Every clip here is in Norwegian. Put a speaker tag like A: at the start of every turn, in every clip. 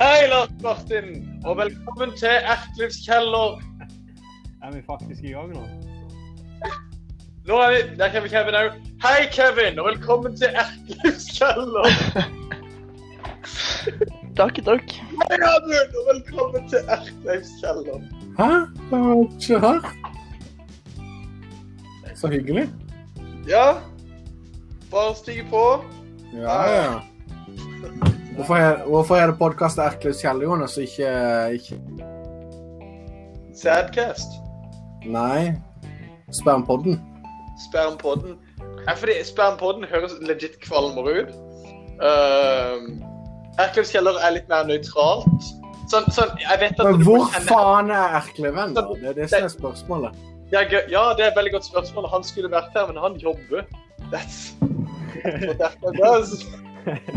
A: Hei, Lars Martin, og velkommen til Erklivs kjeller.
B: Er vi faktisk i gang nå?
A: Nå er vi Der kommer Kevin òg. Hei, Kevin, og velkommen til Erklivs kjeller.
C: Takk, takk.
A: Hei, Amund, og velkommen til Erklivs kjeller.
D: Hæ? Det var ikke her. Så hyggelig.
A: Ja, bare stig på.
D: Ja, ja. Hvorfor er, hvorfor er det podkast Erklevs kjeller, Jonas, og ikke, ikke
A: Sadcast.
D: Nei. Spermpodden.
A: Spermpodden. Ja, fordi Spermpodden høres legit kvalmere ut. Uh, Erklivs kjeller er litt mer nøytralt. Sånn, sånn, jeg vet at
D: Men
A: du må
D: hvor
A: kjenne-
D: faen er Erkleven, da? Det er det som er spørsmålet.
A: Ja, gø- ja, det er et veldig godt spørsmål. Han skulle vært her, men han jobber. That's what that does.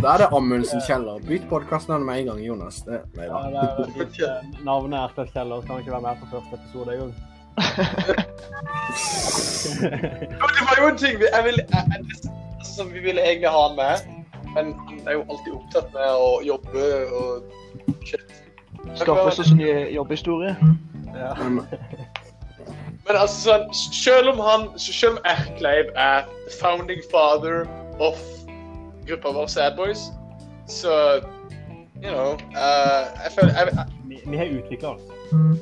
D: Da er det Amundsen Kjeller. Bytt podkastnavn med en gang, Jonas. Det, nei da.
B: det er veldig fint. Eh, Navnet er Erkløv Kjeller, så kan han ikke være med på første episode engang.
A: Jo, Det var jo en ting vi, jeg ville- jeg- jeg- det som vi ville egentlig ha han med, men han er jo alltid opptatt med å jobbe og shit.
C: Skaffe oss en ny jobbhistorie.
B: Ja.
D: Men,
A: Men altså, sånn, selv om han, selv om Erkleiv er founding father of gruppa vår Sad Boys, så, you know, eh, jeg føler, jeg,
B: Vi, vi har utviklet oss.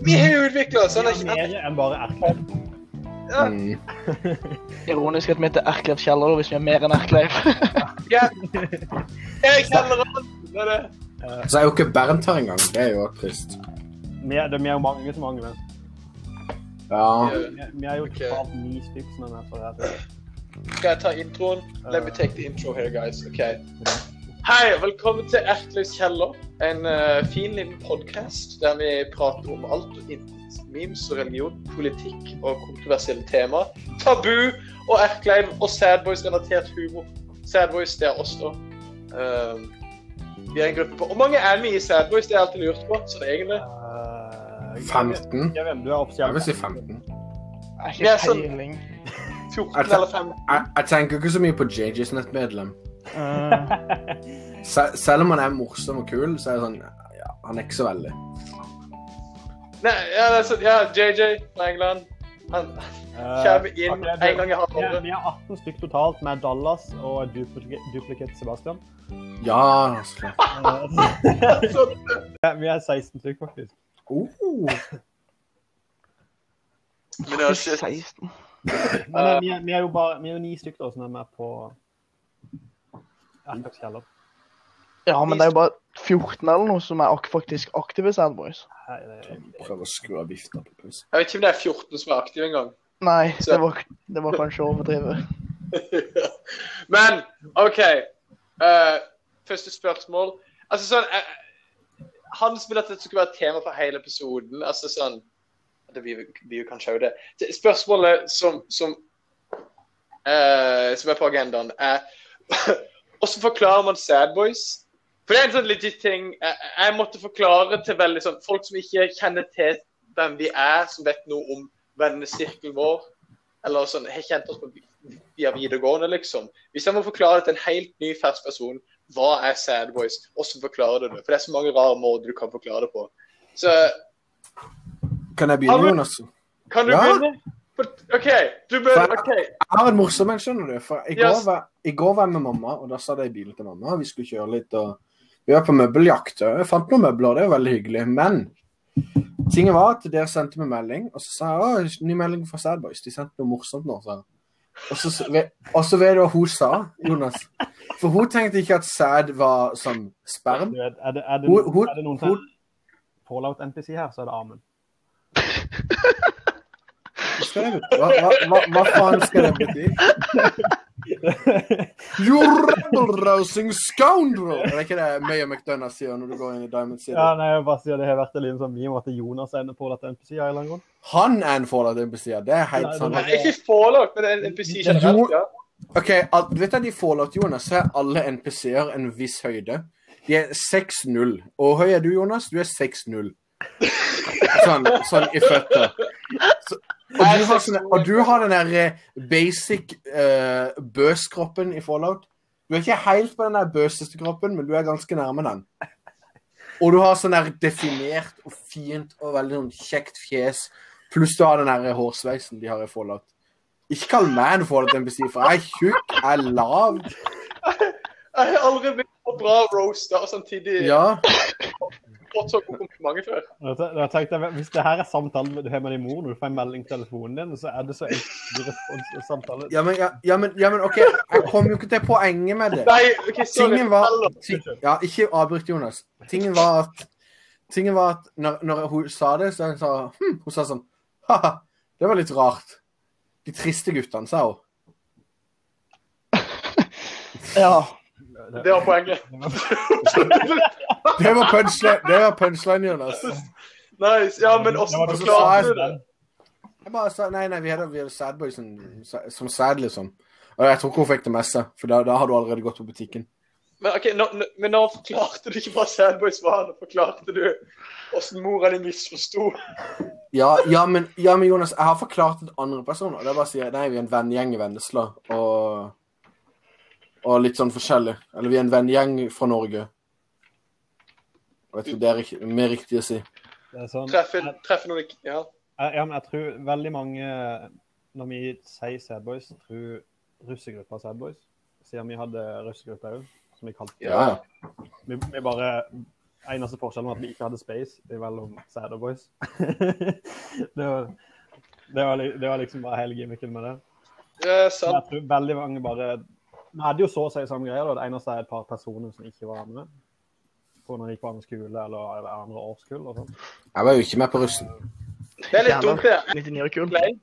A: vi har jo utviklet oss,
B: Vi
A: han er
B: er
A: ikke,
B: mer enn bare Erkløv.
A: ja,
D: mm.
C: Ironisk at vi heter Erklev Kjeller da, hvis vi er mer enn Erklev.
A: ja. Jeg kjenner han, det er det.
D: Så er jo ikke Bernt her engang. Det er jo også trist.
B: Vi er, det er vi er jo mange som mangler.
D: Ja.
A: Ja.
B: Vi, vi er jo
A: Ok.
B: totalt ni stykker som er med på det.
A: Skal jeg ta introen? Let me take the intro here, guys. Ok. Hei, og velkommen til Erklevs kjeller. En eh, fin liten podcast der vi prater om alt og intet. Memes og religion, politikk og kontroversielle tema. Tabu og Erkleiv og Sadboys-relatert humor. Sadboys, det er oss da. Um, vi er en gruppe på. Hvor mange er vi i Sadboys? Det har jeg alltid lurt på. Så det er egentlig...
B: Eh,
D: 15?
B: Kevin, du er
D: Jeg vil
B: offisiell.
D: si 15.
C: Er
A: Ja,
C: ikke
A: sånn.
C: peiling.
A: 14 eller 15.
D: Jeg, jeg tenker ikke så mye på JJs nettmedlem. Se, selv om han er morsom og kul, så er det sånn ja, Han er ikke så veldig.
A: Nei, ja, det er sånn. Ja, JJ fra England. Han
B: Eh,
A: kommer inn
B: ok,
A: en gang i
B: vi er-
A: halvåret.
B: vi er 18 stykker totalt, med Dallas og duplicate duplicate Sebastian.
D: Ja, så klart.
B: Eh,
A: Så-
B: Ja, vi er 16 stykker, faktisk.
D: Oh.
A: Men det er shit.
C: 16.
B: Men eh, vi, er, vi er jo bare vi er jo ni stykker da, som er med på Erkløv Kjeller.
C: Ja, men det er jo bare 14 eller noe som er ak faktisk aktive Sad Boys.
B: Nei, det er-
D: Prøv å skru av vifta på pause.
A: Jeg vet ikke om det er 14 som er aktive engang.
C: Nei, det var, det var kanskje å overdrive.
A: Men OK. eh, første spørsmål. Altså sånn eh, Hans ville at dette skulle være et tema for hele episoden. Altså sånn Det blir, jo- blir jo kanskje òg det. Det- Spørsmålet som som, eh, som er på agendaen, er Hvordan forklarer man Sad Boys? For det er en sånn legit ting eh, jeg måtte forklare til veldig sånn folk som ikke kjenner til hvem vi er, som vet noe om vennesirkelen vår eller sånn, har kjent oss på via videregående, liksom. Hvis jeg må forklare det til en helt ny, fersk person, hva er Sad Boys? Hvordan forklarer du det? For det er så mange rare måter du kan forklare det på. Så
D: Kan jeg
A: Har du-
D: begynne, Jonas?
A: kan du
D: Ja.
A: begynne? For- OK, du begynner. OK.
D: Jeg har en morsom en, skjønner du. For i går,
A: Yes.
D: var, I går var jeg med mamma, og da satt jeg i bilen til mamma. Vi skulle kjøre litt og Vi var på møbeljakt. og Jeg fant noen møbler, det er jo veldig hyggelig. Men tingen var at dere sendte meg melding, og så sa jeg å, ny melding fra Sad Boys. De sendte noe morsomt nå, sa jeg. Og så, og så vet du hva hun sa, Jonas? For hun tenkte ikke at sæd var som sperm.
B: Du vet, er, det, er, det,
D: Hvor- hvor-
B: er det noen
D: hvor-
B: som Fallout NPC her, så er det Amund.
D: Skal det, hva, hva, hva, hva faen skal det bety? You rebel-rousing scoundrel! Er det ikke det Mayor McDonagh sier når du går inn i Diamond City?
B: Ja, nei, jeg bare sier Det har vært en liten sånn meme at Jonas er inne på dette NPC her i lang grunn.
D: Han er en fallout NPC, ja. det er helt
B: Nei,
D: sant.
A: Nei, Ikke forelagt, men en NPC generelt, ja.
D: Ok, al- du vet at i Fallout, Jonas, så er alle NPC-er en viss høyde. De er 6-0. Og høy er du, Jonas? Du er 6-0. Sånn, sånn i føtter. Så, og, du har sånne, og du har den der eh, basic eh, bøskroppen i Fallout. Du er ikke helt på den der bøseste kroppen, men du er ganske nærme den. Og du har sånn der definert og fint og veldig sånn kjekt fjes. Pluss du har den der hårsveisen de har i Fallout. Ikke kall meg en Fallout NPC, for jeg er tjukk, jeg er lav.
A: Jeg har aldri blitt så bra roasta og samtidig
D: Ja.
A: fått så gode komplimenter før.
B: Jeg har te- jeg har tenkt, at Hvis det her er samtalen du har med din mor når du får en melding på telefonen din, så er det så enkel respons og samtale.
D: Ja, men, ja, ja, men, ja, men OK, jeg kom jo ikke til poenget med det.
A: Nei, Kristian,
D: Tingen var
A: heller.
D: ti- Ja, ikke avbryt Jonas. Tingen var at, tingen var at når, når hun sa det, så sa hun, hm, hun sa sånn Haha, det var litt rart. De triste guttene, sa hun.
C: Ja.
A: Det var poenget.
D: Det var punchline, det var punchline Jonas.
A: Nice. Ja, men åssen
B: Det var
D: du
A: forklarer du
D: sa.
A: det?
D: Jeg bare sa Nei, nei, vi hadde, vi hadde sad boys som, som sad, liksom. Og jeg tror ikke hun fikk det med seg, for da, da har du allerede gått på butikken.
A: Men, ok, nå, nå- men nå forklarte du ikke hva Sadboys var. Nå forklarte du åssen mora di misforsto.
D: Ja, ja, men, ja, men Jonas, jeg har forklart det til andre personer. Og det er bare å si nei, vi er en vennegjeng i Vennesla. Og, og litt sånn forskjellig. Eller vi er en vennegjeng fra Norge. Jeg vet ikke, Det er rikt- mer riktig å si.
B: Det er sånn,
A: Treffer, treffer noen ikke Ja.
B: Jeg, Eh, ja, men jeg tror veldig mange, når vi sier Sad Boys, tror russegruppa Sad Boys. Siden vi hadde russegruppe òg, som vi kalte det.
D: Ja, ja.
B: Vi, vi bare Eneste forskjellen var at vi ikke hadde space mellom Sad og Boys. det, var, det, var, li- det var liksom bare hele gimmicken med det.
A: Det er
B: Men jeg
A: sant.
B: tror veldig mange bare Vi hadde jo så å si samme greia, da. Det eneste er et par personer som ikke var med. På når de gikk på andre skole eller, eller andre årskull og sånn.
D: Jeg var jo ikke med på russen.
A: Det er litt
C: Jævla
A: dumt, det.
C: 99 er kul.
A: Ertlei.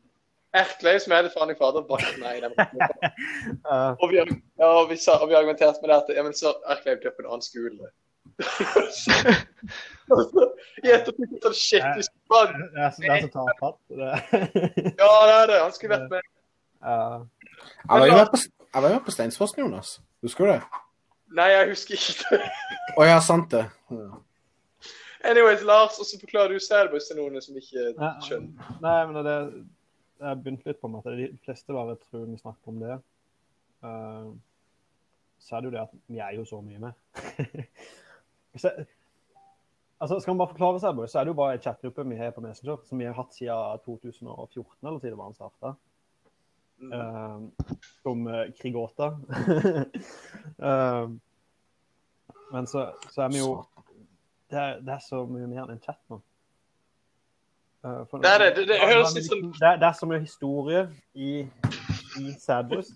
A: Ertlei, som jeg hadde faen i fader, bare nei. Det var
B: Eh,
A: Og vi, ja, og vi, sa, og vi argumenterte med det at ja, men så Erkleiv dør på en annen skole. I ettertid så er det skikkelig skummelt.
B: det, er, så- det er så tafatt. Det.
A: Ja, det er det. Han skulle vært med.
B: Eh,
D: Jeg var jo med på, jeg var jo med på Steinsfossen, Jonas. Husker du det?
A: Nei, jeg husker ikke det.
D: Å ja, sant det.
A: Anyways, Lars, og så forklarer du Selbus til noen som ikke skjønner.
B: Nei, men det Jeg begynte litt på en måte. De fleste bare tror vi snakker om det. Eh, så er det jo det at vi er jo så mye med. så, altså, skal man bare forklare seg, boys, så er det jo bare en chatgruppe vi har på Messenger, som vi har hatt siden 2014, eller siden den starta. om eh, Krigåta. Eh, men så, så er vi jo det er, det er så mye mer enn en chat nå. Eh, for-
A: Det er det. Det- det
B: Ja,
A: høres
B: men
A: litt sånn-
B: Det, er- det er så mye historie i, i Sadboys.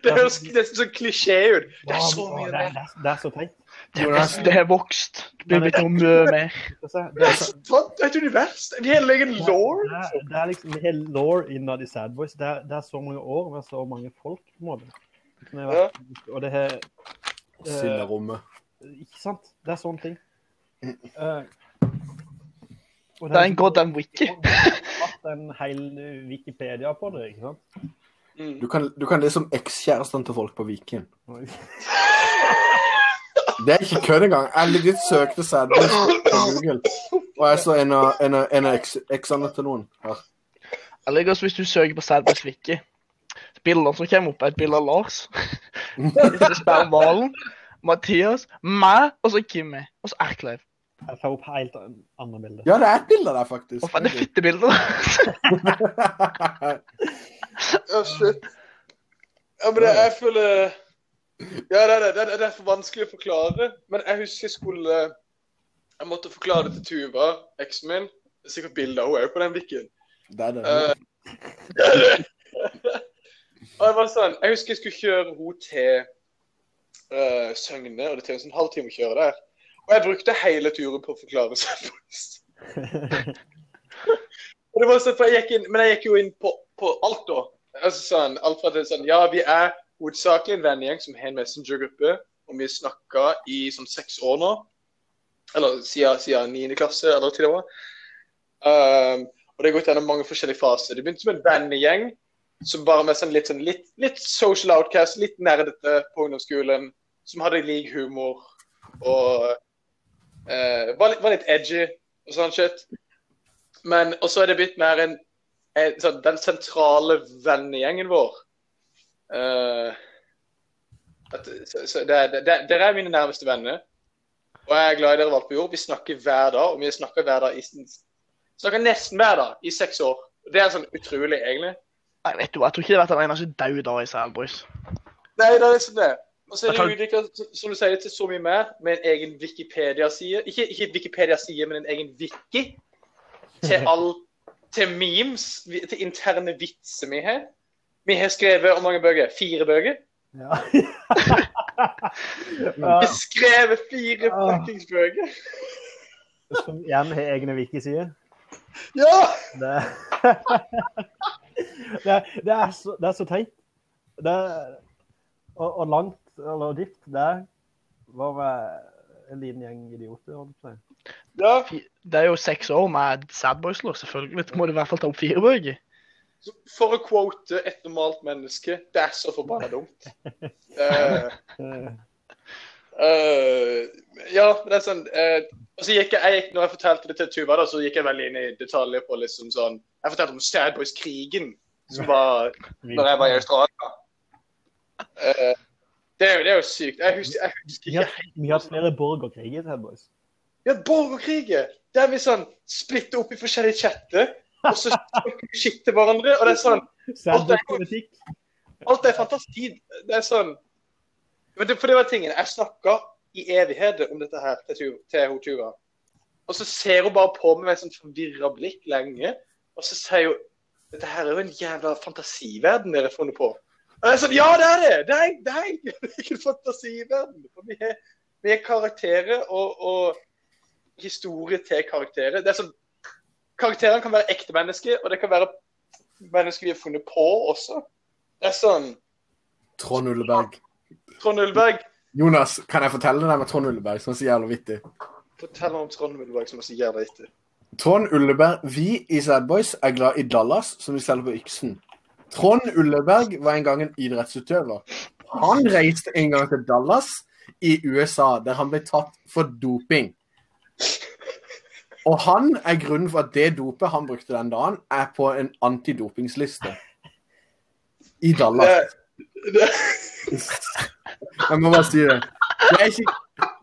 A: Det høres nesten sånn klisjé ut. Det er så mye
B: det,
A: mer.
B: er- det, er- det er så teit.
C: Det er vokst- det har vokst. Det blir blitt noe mye mer.
B: Det er,
A: Det er så sant. Det er et univers. Det er en hel egen law.
B: det er, det er liksom en hel lore innad i Sadboys. Det, er- det er så mange år med så mange folk, på en måte. Som har vært- Og det har eh,
D: Sinnerommet.
B: Ikke sant? Det er sånne ting. Eh, og
C: Det er en goddamn wiki.
B: Og det har vært en hel Wikipedia på det, ikke sant?
A: Mm.
D: Du kan, du kan lese om ekskjæresten til folk på Viken.
B: Og-
D: Det er ikke kødd engang. Jeg legit søkte sadness på Google, og jeg så en av, en av, en av eks- eksene til noen her.
C: Jeg liker også hvis du søker på Sadbest Wiki. Bildene som kommer opp, er et bilde av Lars. Sperr Valen, Mathias, meg og så Kimmy. Og så Erkleiv.
B: Jeg får opp helt an- andre bilder.
D: Ja, det er et bilde der,
C: Hva
D: faktisk.
C: faen det er fittebilder? da?
A: Ja, shit. Ja, men det, jeg føler Ja, det er det. Det er- Det er for vanskelig å forklare. Men jeg husker jeg skulle Jeg måtte forklare det til Tuva, eksen min. Det er Sikkert bilder av henne òg på den vikken.
D: Det er det.
A: Eh, og jeg var sånn Jeg husker jeg skulle kjøre henne til eh, Søgne, og det tar en sånn halvtime å kjøre der. Og jeg brukte hele turen på å forklare seg. Og det var sånn, for jeg gikk inn, men jeg gikk jo inn på, på alt da. Altså sånn, alt fra det sånn, ja, vi er hovedsakelig en vennegjeng som har en messengergruppe, og vi snakket i sånn seks år nå, eller siden, siden 9. klasse, eller til det var. Um, og det har gått gjennom mange forskjellige faser. Det begynte som en vennegjeng, som bare med sånn litt, sånn, litt, litt social outcast, litt nerdete på ungdomsskolen, som hadde lik humor, og eh, var, litt, var litt edgy, og sånn shit. Men og så er det blitt mer en, en sånn, den sentrale vennegjengen vår. Eh, at, så, så det, er- det, det, dere er mine nærmeste venner. Og jeg er glad i dere valgt på jord. Vi snakker hver dag, og vi snakker hver dag i snakker nesten hver dag i seks år. Det er sånn utrolig, egentlig.
C: Nei, vet du hva, jeg tror ikke det har vært en eneste død dag i Selboys.
A: Nei, det er liksom det. Og så er
C: Jeg
A: det utvikla, som du sier, til så mye mer, med en egen Wikipedia-side. Ikke, ikke Wikipedia-side, men en egen wiki til all Til memes, vi- til interne vitser vi har. Vi har skrevet hvor mange bøker? Fire bøker?
B: Ja.
A: Vi
B: ja.
A: har skrevet fire
B: Ah.
A: fuckings bøker!
B: Som igjen har egne wiki-sider.
A: Ja!
B: Det, det, det, er så, det er så teit. Det, er- og, og langt eller dypt. Det var med en liten gjeng idioter. holdt jeg på å si.
A: ja.
C: Det er jo seks år med Sadboys-lås, selvfølgelig. Da må du i hvert fall ta opp fire bøker.
A: Så For å quote et normalt menneske Det er så forbanna dumt. Eh,
B: Eh,
A: eh, ja, men det er sånn eh, Og så gikk jeg, jeg gikk, når jeg fortalte det til Tuva, da, så gikk jeg veldig inn i detaljer på liksom sånn Jeg fortalte om Stadboys-krigen, som var når jeg var i Australia. Eh, det, er jo, det er jo sykt. Jeg husker, jeg husker
B: Vi
A: ikke
B: har vi har hatt flere borgerkriger i Headboys.
A: Ja, borgerkrigen! Der vi sånn splitter opp i forskjellige chatter, og så snakker vi shit til hverandre. Og det er sånn
B: Sadboys-politikk.
A: Alt er fantasi. Det er sånn Men det, For det var tingen. Jeg snakka i evigheter om dette her til, Tu- til hun Tuva. Og så ser hun bare på meg med et sånt forvirra blikk lenge. Og så sier hun Dette her er jo en jævla fantasiverden dere har funnet på. Og jeg er sånn Ja, det er det! Det er, det er ikke en fantasiverden. For vi er, vi er karakterer og, og historie til karakterer. Det er sånn Karakterene kan være ekte mennesker, og det kan være mennesker vi har funnet på også. Det er sånn
D: Trond Ulleberg.
A: Trond Ullberg.
D: Jonas, kan jeg fortelle deg med Trond Ulleberg, som er så jævla vittig?
A: Fortell meg om Trond Ullberg som er så jævla etter.
D: Trond Ulleberg, vi i Sad Boys er glad i Dallas, som de selger på Yksen. Trond Ulleberg var en gang en idrettsutøver. Han reiste en gang til Dallas i USA, der han ble tatt for doping. Og han er grunnen for at det dopet han brukte den dagen, er på en antidopingsliste. I Dallas. Jeg må bare si det. Det er ikke,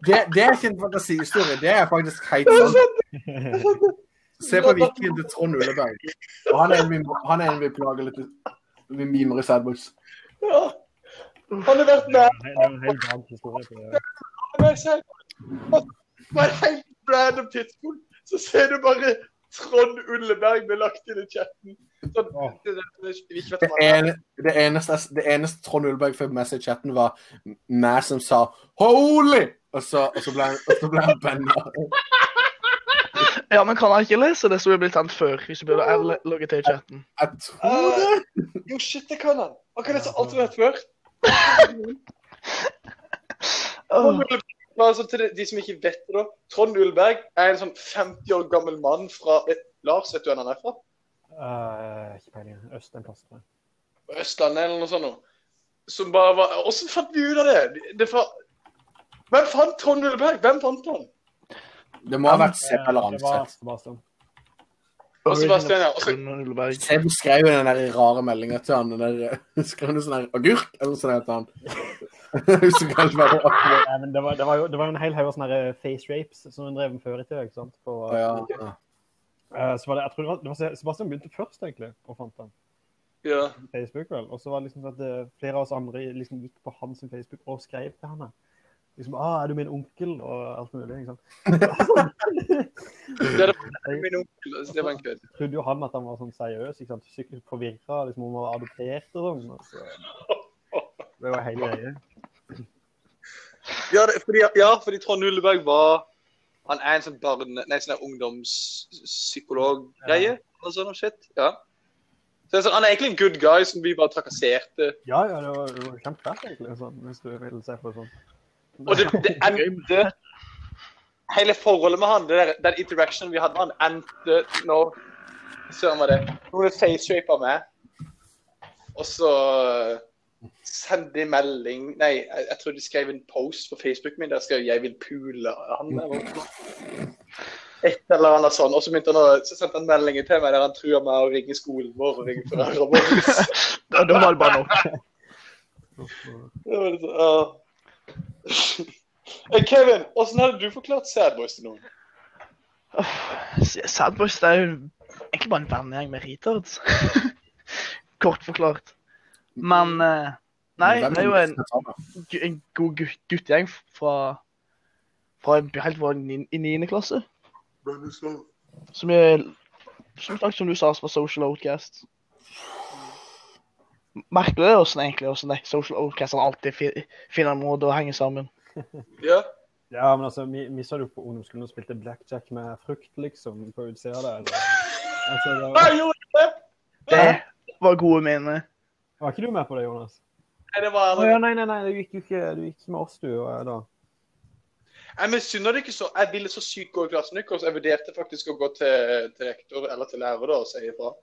D: det, det er ikke en fantasihistorie. Det er faktisk helt
A: sånn,
D: sant. Se på vikingen til Trond Ulleberg. Og han er en vi, han er en vi plager litt Vi mimer i Sadbox.
A: Ja. Han har vært
B: Det
A: med
B: er en helt annen historie på det.
A: han har vært selv. Og På et helt random tidspunkt så ser du bare Trond Ulleberg bli lagt inn i chatten. Sånn, det, det, det, vi ikke vet
D: Det,
A: om han er.
D: ene, det, eneste, det eneste Trond Ulleberg fikk med seg i chatten, var meg som sa 'holy', og så, og så ble han, og så ble han banna.
C: Ja, men kan jeg ikke lese det som er blitt sendt før? Hvis du burde jeg logge til i chatten.
D: Jeg tror det.
A: Jo, shit, det kan han. Han kan lese alt vi har hørt før.
C: Åh,
A: Trond Ullberg, bare sånn til de- de som ikke vet det, da. Trond Ullberg er en sånn 50 år gammel mann fra vet, Lars, vet du hvor han er fra?
B: Eh, Ikke peiling. Øst en plass. tror jeg.
A: på Østlandet eller noe sånt noe. Som bare var Åssen fant vi ut av det? det fa... Hvem fant Trond Ulleberg? Hvem fant han?
D: Det må ha vært Seb
B: Eh,
D: eller
B: Det var
D: Ramseth.
B: Sebastian.
A: Og Sebastian, ja. Og så
C: Trond Ulleberg.
D: Seb skrev jo den der rare meldinga til han. Den der, skrev han sånn her 'agurk', eller noe sånt heter han. Jeg husker ikke hva det var.
B: Nei, men det, var, det, var jo, det var jo en hel haug av sånne her eh, face rapes som hun drev med før i tida. ikke sant? På,
D: Å, ja.
B: eh, så var det, jeg tror det var, det var Sebastian begynte først, egentlig, og fant den.
A: ja.
B: på Facebook, vel. Og så var det liksom sånn at eh, flere av oss andre liksom gikk på hans Facebook og skrev til han. da. Liksom, ah, 'Er du min onkel?' og alt mulig. ikke sant?
A: Det, er det, min onkel, altså, det var en kødd.
B: Trodde jo han at han var sånn seriøs, ikke sant? Sikkert forvirra liksom, om han var adoptert og sånn. og så- Det var hele greia.
A: Ja, det- fordi, ja, fordi Trond Ulleberg var Han er en sånn barne... Nei, sånn der ungdomspsykolog-greie. Og sånn og shit. Ja. Så det er sånn, han er egentlig en good guy som vi bare trakasserte.
B: Ja, ja, det var, det var kjempefett, egentlig, sånn, hvis du vil se på det sånn.
A: Og det, det endte Hele forholdet med han, det der, den interactionen vi hadde med han, endte når Søren var det. Noen faceshapa meg. Og så eh, sendte de melding Nei, jeg, jeg tror de skrev en post på Facebooken min der jeg skrev 'Jeg vil pule han'. Eller noe. Et eller annet sånn. Og så, begynte han å, så sendte han meldinger til meg der han trua meg å ringe skolen vår og ringe foreldrene våre.
C: Ja, det var det bare nok.
A: Det var litt sånn, åh. Eh, Kevin, åssen hadde du forklart Sadboys til noen?
C: Sadboys det er jo egentlig bare en vennegjeng med retards. Kort forklart. Men eh, Nei,
D: Hvem
C: det er jo en,
D: som skal ta det?
C: gu- en god gut- guttegjeng fra, fra en- helt fra ni- i 9. klasse. Som er som, sagt, som du sa, som var social outcast. Merkelig det åssen egentlig hvordan de social outcastene alltid fi- finner en måte å henge sammen.
A: Ja,
B: Ja, men altså, vi, vi så det jo på ungdomsskolen og spilte blackjack med frukt, liksom, på utsida der. eller? Altså, det var,
A: Nei, jo, det-
C: Det var gode minner.
B: var ikke du med på det, Jonas?
A: Nei, det var
B: Å, ja, nei, nei, nei, du gikk jo ikke, du gikk ikke med oss, du. Og, da.
A: Jeg misunner det ikke så. Jeg ville så sykt gå i klassen deres. Jeg vurderte faktisk å gå til, til rektor eller til lærer da, og si ifra.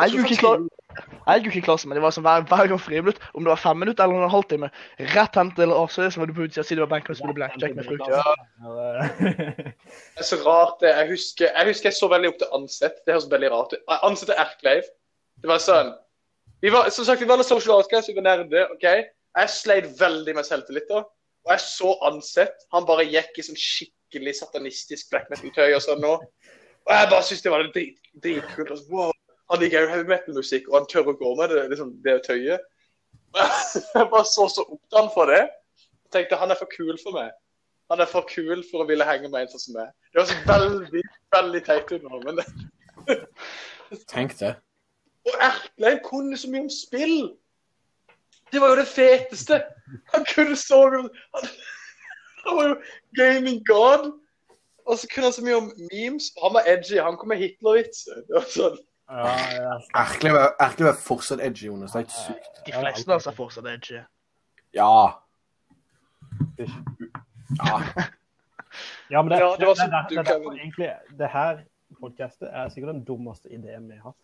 C: Jeg gikk ikke klar. Jeg gikk ikke i klassen, men det var sånn hver, hver gang friminutt, om det var fem minutter eller en halvtime, rett hen til Arsøy, så var du på utsida siden du var benken og spille blackjack med frukt.
A: Ja. Det er så rart, det. Jeg husker jeg, husker jeg så veldig opp til Ansett. Det høres veldig rart ut. Eh, Ansett og Erkleiv. Det var sånn vi var, Som sagt, vi var alle social outcasts, vi var nerder. ok? Jeg sleit veldig med selvtillit da. Og jeg så Ansett. Han bare gikk i sånn skikkelig satanistisk black metal-tøy og sånn nå. Og jeg bare syntes det var litt drit- dritkult. og så, Wow. Han liker jo heavy metal-musikk, og han tør å gå med det, liksom, det tøyet. Jeg bare så så opp til han for det. Jeg tenkte han er for kul for meg. Han er for kul for å ville henge med en sånn som meg. Det høres veldig, veldig teit ut nå, men
D: Tenk det.
A: Og Erklein kunne så mye om spill! Det var jo det feteste! Han kunne så mye om Han, han var jo gaming god! Og så kunne han så mye om memes. Han var edgy. Han kom med Hitler-vitser. Det var sånn.
B: Ja, ja.
D: Erkelig å være- erkelig å være fortsatt edgy, Jonas. Det er helt sykt.
C: De fleste av oss er fortsatt edgy.
D: Ja.
B: Ish.
D: ja.
B: Ja, men det,
A: Ja, det var sånn
B: det, det,
A: du
B: det,
A: kan-
B: derfor egentlig, det her podcastet er sikkert den dummeste ideen vi har hatt.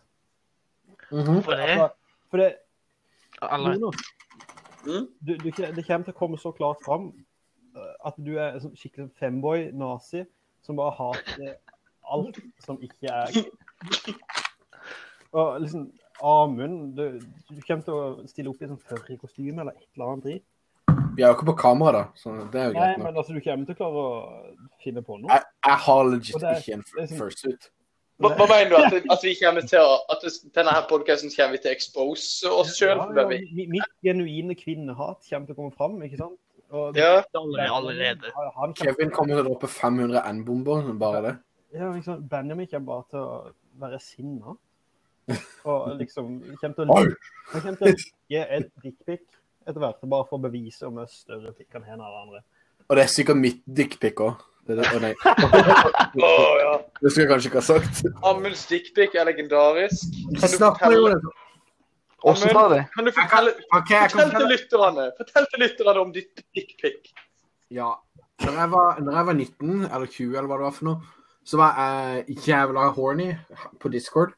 D: Mhm.
C: For det,
B: Altså, for det,
C: eller
B: Jonas,
A: Mm?
B: du, du, det kommer til å komme så klart fram eh, at du er en sånn skikkelig femboy, nazi, som bare hater alt som ikke er Og liksom Amund du, du kommer til å stille opp i sånn furry-kostyme eller et eller annet drit.
D: Vi er jo ikke på kamera, da, så det er jo
B: Nei,
D: greit nok.
B: men altså, du kommer til å klare å finne på noe.
D: Jeg, jeg har legit
B: Og det er-
D: ikke en
B: det er sånn-
D: fursuit.
A: Hva, hva mener du? At, at vi kommer til å, at denne her podcasten kommer vi til å expose oss sjøl?
B: Ja, ja, mi- mitt genuine kvinnehat kommer til å komme fram, ikke sant? Og
A: Ja.
C: allerede. allerede.
B: Ja, Han kan,
D: Kevin kommer til å droppe 500 N-bomber, bare det.
B: ja, liksom, Benjamin kommer bare til å være sinna. Og liksom kommer til å
D: Oi!
B: Han kommer til å gi en dickpic etter hvert, bare for å bevise om det er større pikk enn en eller andre.
D: Og det er sikkert mitt dickpic òg. Det, det, å, nei.
A: Å, ja.
D: det skulle jeg kanskje ikke ha sagt.
A: Amunds dickpic er legendarisk. Kan du
D: Snakk med
A: fortelle
D: Jonas.
C: Åssen sa de?
A: Kan du fortelle,
D: Ok, jeg kan
A: fortell til
D: fortelle-
A: lytterne Fortell til lytterne om ditt dickpic.
D: Ja. Når jeg, var, når jeg var 19, eller 20, eller hva det var for noe, så var jeg jævla horny på Discord.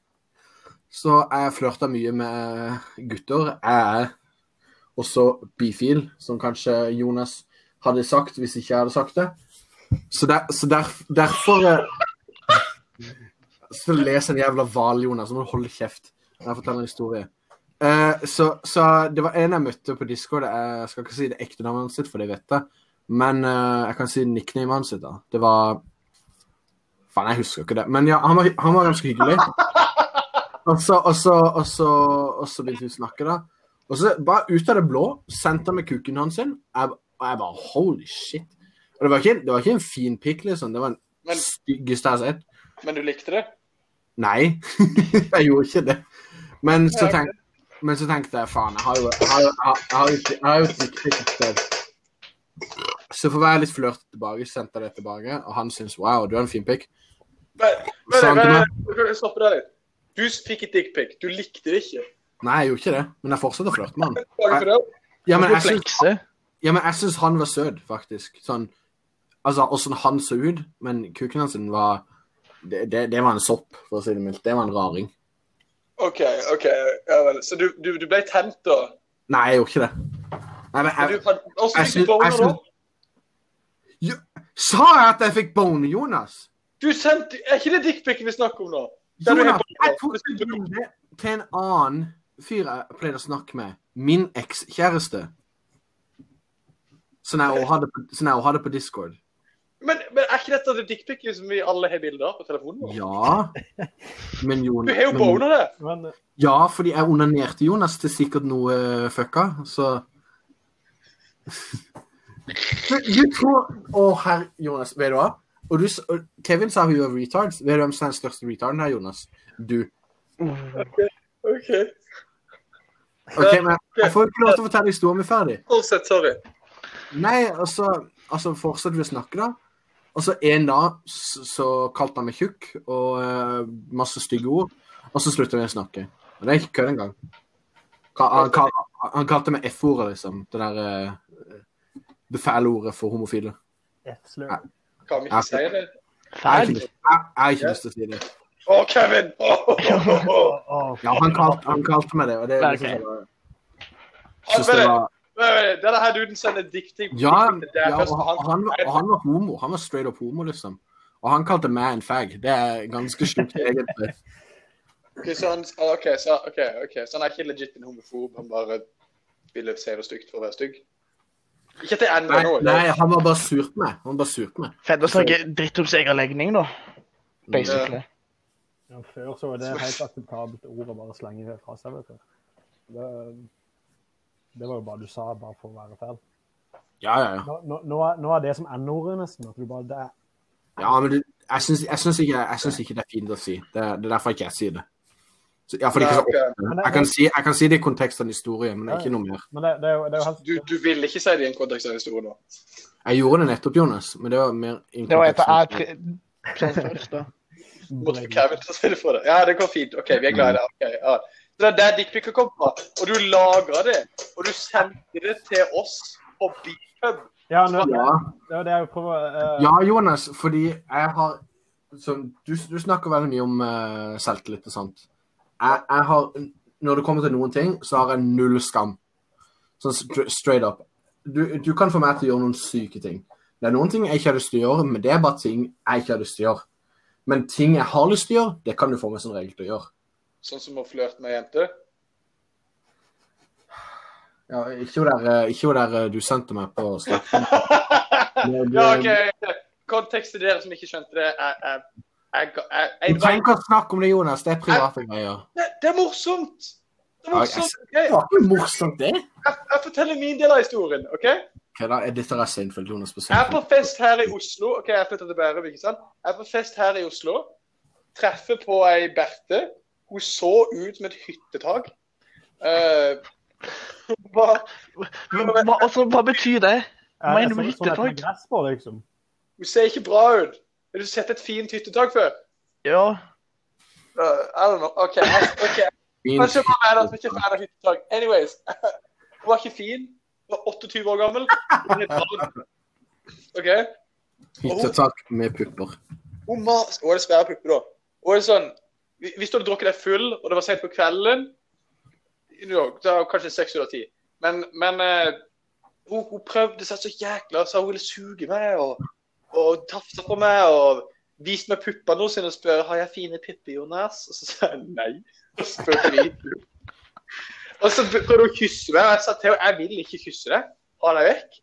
D: Så jeg flørta mye med gutter. Jeg er også bifil, som kanskje Jonas hadde sagt hvis ikke jeg hadde sagt det. Så, der, så der, derfor eh, Så leser en jævla hval, Jonas. Så må du holde kjeft når jeg forteller en historie. Eh, så, så det var en jeg møtte på Discord. Jeg skal ikke si det ekte navnet sitt, for det vet jeg. Men eh, jeg kan si nicknamet hans. sitt, da. Det var Faen, jeg husker ikke det. Men ja, han var, han var ganske hyggelig. Og så, og, så, og, så, og så begynte vi å snakke, da. Og så bare ut av det blå sendte han meg kuken hans sin. Jeg, og jeg bare holy shit. Og det var ikke, det var ikke en fin pikk, liksom. Det var
A: Men-
D: den styggeste jeg har sett.
A: Men du likte det?
D: Nei, jeg gjorde ikke det. Men så,
A: Ja, ok.
D: tenk, men så tenkte jeg faen, jeg har jo- jeg har jo- jeg har jo ikke- jeg har jo et riktig sted. Så for å være litt flørt tilbake, sendte jeg det tilbake, og han syntes wow, du er en fin pikk.
A: Men, men,
D: Sant,
A: men,
D: men-
A: men, men stoppe deg litt. Du fikk et dickpic. Du likte det ikke.
D: Nei, jeg gjorde ikke det, men jeg fortsatte å flørte med han.
A: Var det for det?
D: Ja, men jeg syns-
C: Komplekse.
D: ja, men jeg syns han var søt, faktisk. Sånn, altså, åssen han så ut, men kuken hans var det, det, det var en sopp, for å si det mildt. Det var en raring.
A: OK. ok. Ja vel. Så du, du, du ble tent, da?
D: Nei, jeg gjorde ikke det. Nei, men
A: Men
D: jeg,
A: du kan- Hvordan
D: jeg
A: fikk
D: syns-
A: du boner
D: jeg
A: da?
D: syns- Sa jeg at jeg fikk bone, Jonas?
A: Du sendte Er ikke det dickpicen vi snakker om nå? Der du
D: Jonas,
A: har bone,
D: jeg
A: da.
D: tok et bilde til en annen fyr jeg pleide å snakke med. Min ekskjæreste. Sånn jeg også hadde, på- sånn jeg også hadde på Discord.
A: Men, men er ikke dette det dickpicet som vi alle har bilder av på telefonen vår?
D: Ja. Men Jon
A: Du har jo
D: men-
A: bona det!
B: Men eh,
D: Ja, fordi jeg onanerte Jonas til sikkert noe eh, fucka, så du, du tror Å, herre Jonas, vet du hva? Og du, s- og Kevin sa hun var retards. Vet du hvem som er den største retarden her, Jonas? Du.
A: OK.
D: Ok, men Jeg får jo ikke lov til å fortelle historien min ferdig.
A: Fortsett, sorry.
D: Nei, altså, altså fortsatte vi å snakke, da. Og så en dag s- så kalte han meg tjukk og eh, masse stygge ord. Og så slutta vi å snakke. Og det er ikke kødd engang. Ka- Han, kal- han kalte meg F-ordet, liksom. Det der eh, Det fæle ordet for homofile.
B: F-slur.
D: Nei.
A: Kan vi ikke si det?
D: Jeg har ikke
C: Feil.
D: lyst- jeg- jeg har ikke lyst til å si det.
A: Å, Kevin! Åh, åh, åh, åh.
B: Å,
D: Ja, han kalte, han kalte meg det, og det
C: Nei,
D: liksom,
C: ok.
D: det var- synes det
A: Anmeld det!
D: var
A: Nei, nei, Denne her duden sender dickpic.
D: Ja,
A: Det er
D: ja
A: først
D: og, han, og, han, var- og han var homo. Han var straight up homo, liksom. Og han kalte meg en fag. Det er ganske sjukt, egentlig.
A: Ok, så han, ah, ok, så, ok, ok, så han er ikke legit en homofob, han bare ville si det stygt for å være stygg? Ikke at det ender nå.
D: Nei,
A: det-
D: nei, han var bare sur på meg. Han var bare sur på meg. Mm.
C: Fett å snakke dritt om sin egen legning, da. Basically.
B: Ja, før så var det helt akseptabelt ord å bare slenge fra seg, vet du. Det, det var jo bare du sa, bare for å være fæl.
D: Ja, ja, ja.
B: Nå, nå, nå er- nå er det som N-ordet, nesten. At du bare det er,
D: ja men du, jeg syns, jeg, syns ikke, jeg syns ikke det er fint å si. Det, er- det er derfor ikke jeg sier det. Så, ja, for det er ikke så
A: Nei, ok.
D: ofte. Jeg kan si, jeg kan si det i kontekst av en historie, men ikke noe mer.
B: Men det, det, er jo, det er jo helt
A: Du, du vil ikke si det i en kontekst av historien nå?
D: Jeg gjorde det nettopp, Jonas, men det var mer i en
C: Det var etter jeg
D: kontekst.
C: pri... Sånn først, da.
A: Måtte få Kevin til å si det for deg? Ja, det går fint. OK, vi er glad i deg. Ok, ja. Så det er der dickpicen kom fra. Og du lagra det. Og du sendte det til oss på Beepub.
B: Ja, nå, det
D: Ja,
B: er jo det jeg prøver eh,
D: ja, Jonas, fordi jeg har sånn, du, du snakker veldig mye om eh, selvtillit og sånt. Jeg, jeg har, når det kommer til noen ting, så har jeg null skam. Sånn str- straight up. Du, du kan få meg til å gjøre noen syke ting. Det er noen ting jeg ikke har lyst til å gjøre, men det er bare ting jeg ikke har lyst til å gjøre. Men ting jeg har lyst til å gjøre, det kan du få meg som regel til å gjøre.
A: Sånn som å flørte med ei jente.
D: Ja, ikke jo der, eh, ikke jo der eh, du sendte meg på Snap. Men,
A: Ja,
D: eh,
A: OK. Kontekst til dere som ikke skjønte det. Jeg, jeg, jeg, jeg, jeg,
D: Du trenger ikke å snakke om det, Jonas. Det er private greier.
A: Det, det er morsomt! Det er
D: Ja,
A: morsomt. ok?
D: Det var ikke morsomt, det.
A: Jeg, jeg forteller min del av historien. ok?
D: Ok, da er dette er Seinfeld, Jonas på
A: Jeg er på
D: Seinfeld.
A: fest her i Oslo. ok, Jeg flytter til Bærum, ikke sant? Jeg er på fest her i Oslo. Treffer på ei Berthe. Hun så ut som et hyttetak. Eh, hun bare,
C: Men hva, altså, hva betyr det?
B: er-
C: Mener du
B: er
C: med
B: sånn- sånn at det er
C: hyttetak?
B: gress på, liksom.
A: hun ser ikke bra ut. Har du sett et fint hyttetak før?
C: Ja.
A: Eh, I don't know. OK. jeg- ok,
D: Min-
A: Kanskje bare meg da, som ikke er fan av hyttetak. Anyways, hun var ikke fin. Hun var 28 år gammel. Hun var litt varm. OK?
D: Hyttetak med pupper.
A: Hun mas Hun hadde svære pupper, da. Og det er sånn hvis- Hvis du hadde drukket deg full, og det var sent på kvelden you know, Da var det kanskje seks ut av ti. Men, men eh, hun, hun prøvde seg så jækla, sa hun ville suge meg og, og tafsa på meg og viste meg puppene sine og spør har jeg fine pupper, Jonas. Og så sa jeg nei. Og så spurte vi Og så prøvde hun å kysse meg, og jeg sa til henne jeg vil ikke kysse deg. Ha deg vekk.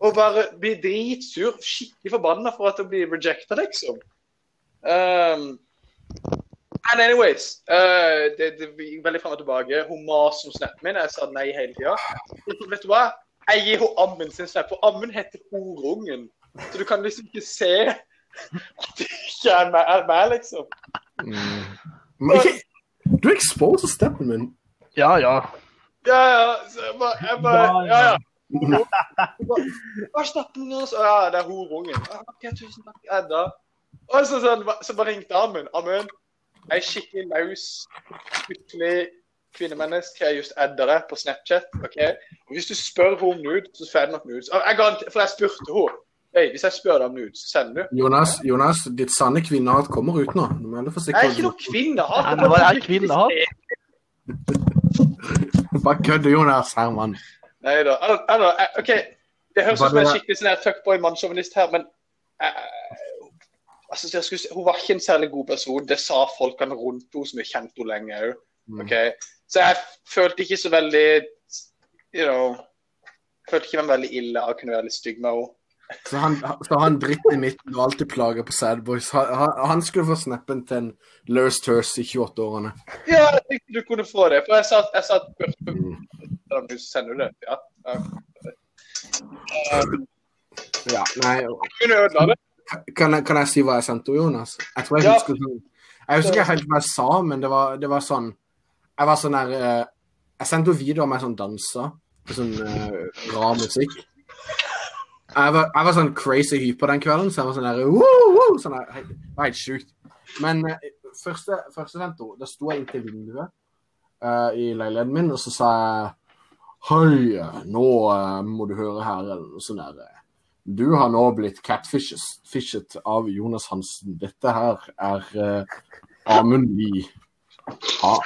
A: Og bare bli dritsur, skikkelig forbanna for at hun blir rejecta, liksom. Um, and anyways, eh, det, det gikk veldig frem og tilbake. Hun maser om snappen min. Jeg sa nei hele tida. Vet du hva? Jeg gir henne ammen sin snap, og ammen heter Horungen. Så du kan liksom ikke se at det ikke er meg, er meg liksom.
D: Mm. Men ikke Du exposer steppen min.
C: Ja, ja.
A: Ja, ja. Så jeg bare, jeg bare Ja, ja. Hva er snappen din? Ja, det er Horungen. Ja, Ok, tusen takk. Ja, da. Og så, sånn, så bare ringte Amund. Amund, ei skikkelig laus, skikkelig kvinnemenneske jeg just adda deg på Snapchat. ok? Og Hvis du spør henne om nudes, så får jeg nok nudes. Og Jeg garante- for jeg spurte henne. Hei, hvis jeg spør deg om nudes, så sender du.
D: Jonas, Jonas, ditt sanne kvinnehat kommer ut nå. Du må heller
A: Jeg er
D: forsikre
A: ikke noe kvinnehat.
C: Nei, men hva er kvinnehat?
D: Bare kødder, Jonas. Herman.
A: Nei da. I don't- I don't know. Jeg- eh, OK, det høres ut som en
D: Bare-
A: skikkelig sånn her fuckboy-mannssjåvinist her, men eh, altså, jeg skulle, si- Hun var ikke en særlig god person. Det sa folkene rundt henne som har kjent henne lenge òg.
D: Mm.
A: ok? Så jeg følte ikke så veldig You know følte ikke hvem veldig ille av å kunne være litt stygg med henne.
D: Så han, så han dritt i midten og alltid plager på Sadboys. Han, han- han skulle få snappen til en Lurs Turse i 28-årene.
A: Ja, jeg tenkte du kunne få det, for jeg sa at jeg sa at Bjarte du sender det. Ja. ja.
D: Ja, nei,
A: Kunne du ødela det.
D: kan, jeg- kan jeg si hva jeg sendte henne, Jonas? Jeg tror jeg
A: Ja.
D: husker sånn Jeg husker ikke helt hva jeg sa, men det var, det var sånn Jeg var sånn der eh, Jeg sendte henne videoer med sånn danser til sånn eh, rar musikk. Jeg var, jeg var sånn crazy hyper den kvelden, så jeg var sånn der woo, woo, sånn der, helt- Det var helt sjukt. Men eh, første, første sendte henne, da sto jeg inntil vinduet eh, i leiligheten min, og så sa jeg Hei, eh, nå eh, må du høre her, eller noe sånt der. eh, du har nå blitt catfishet av Jonas Hansen. Dette her er eh, Amund Lie. Ja.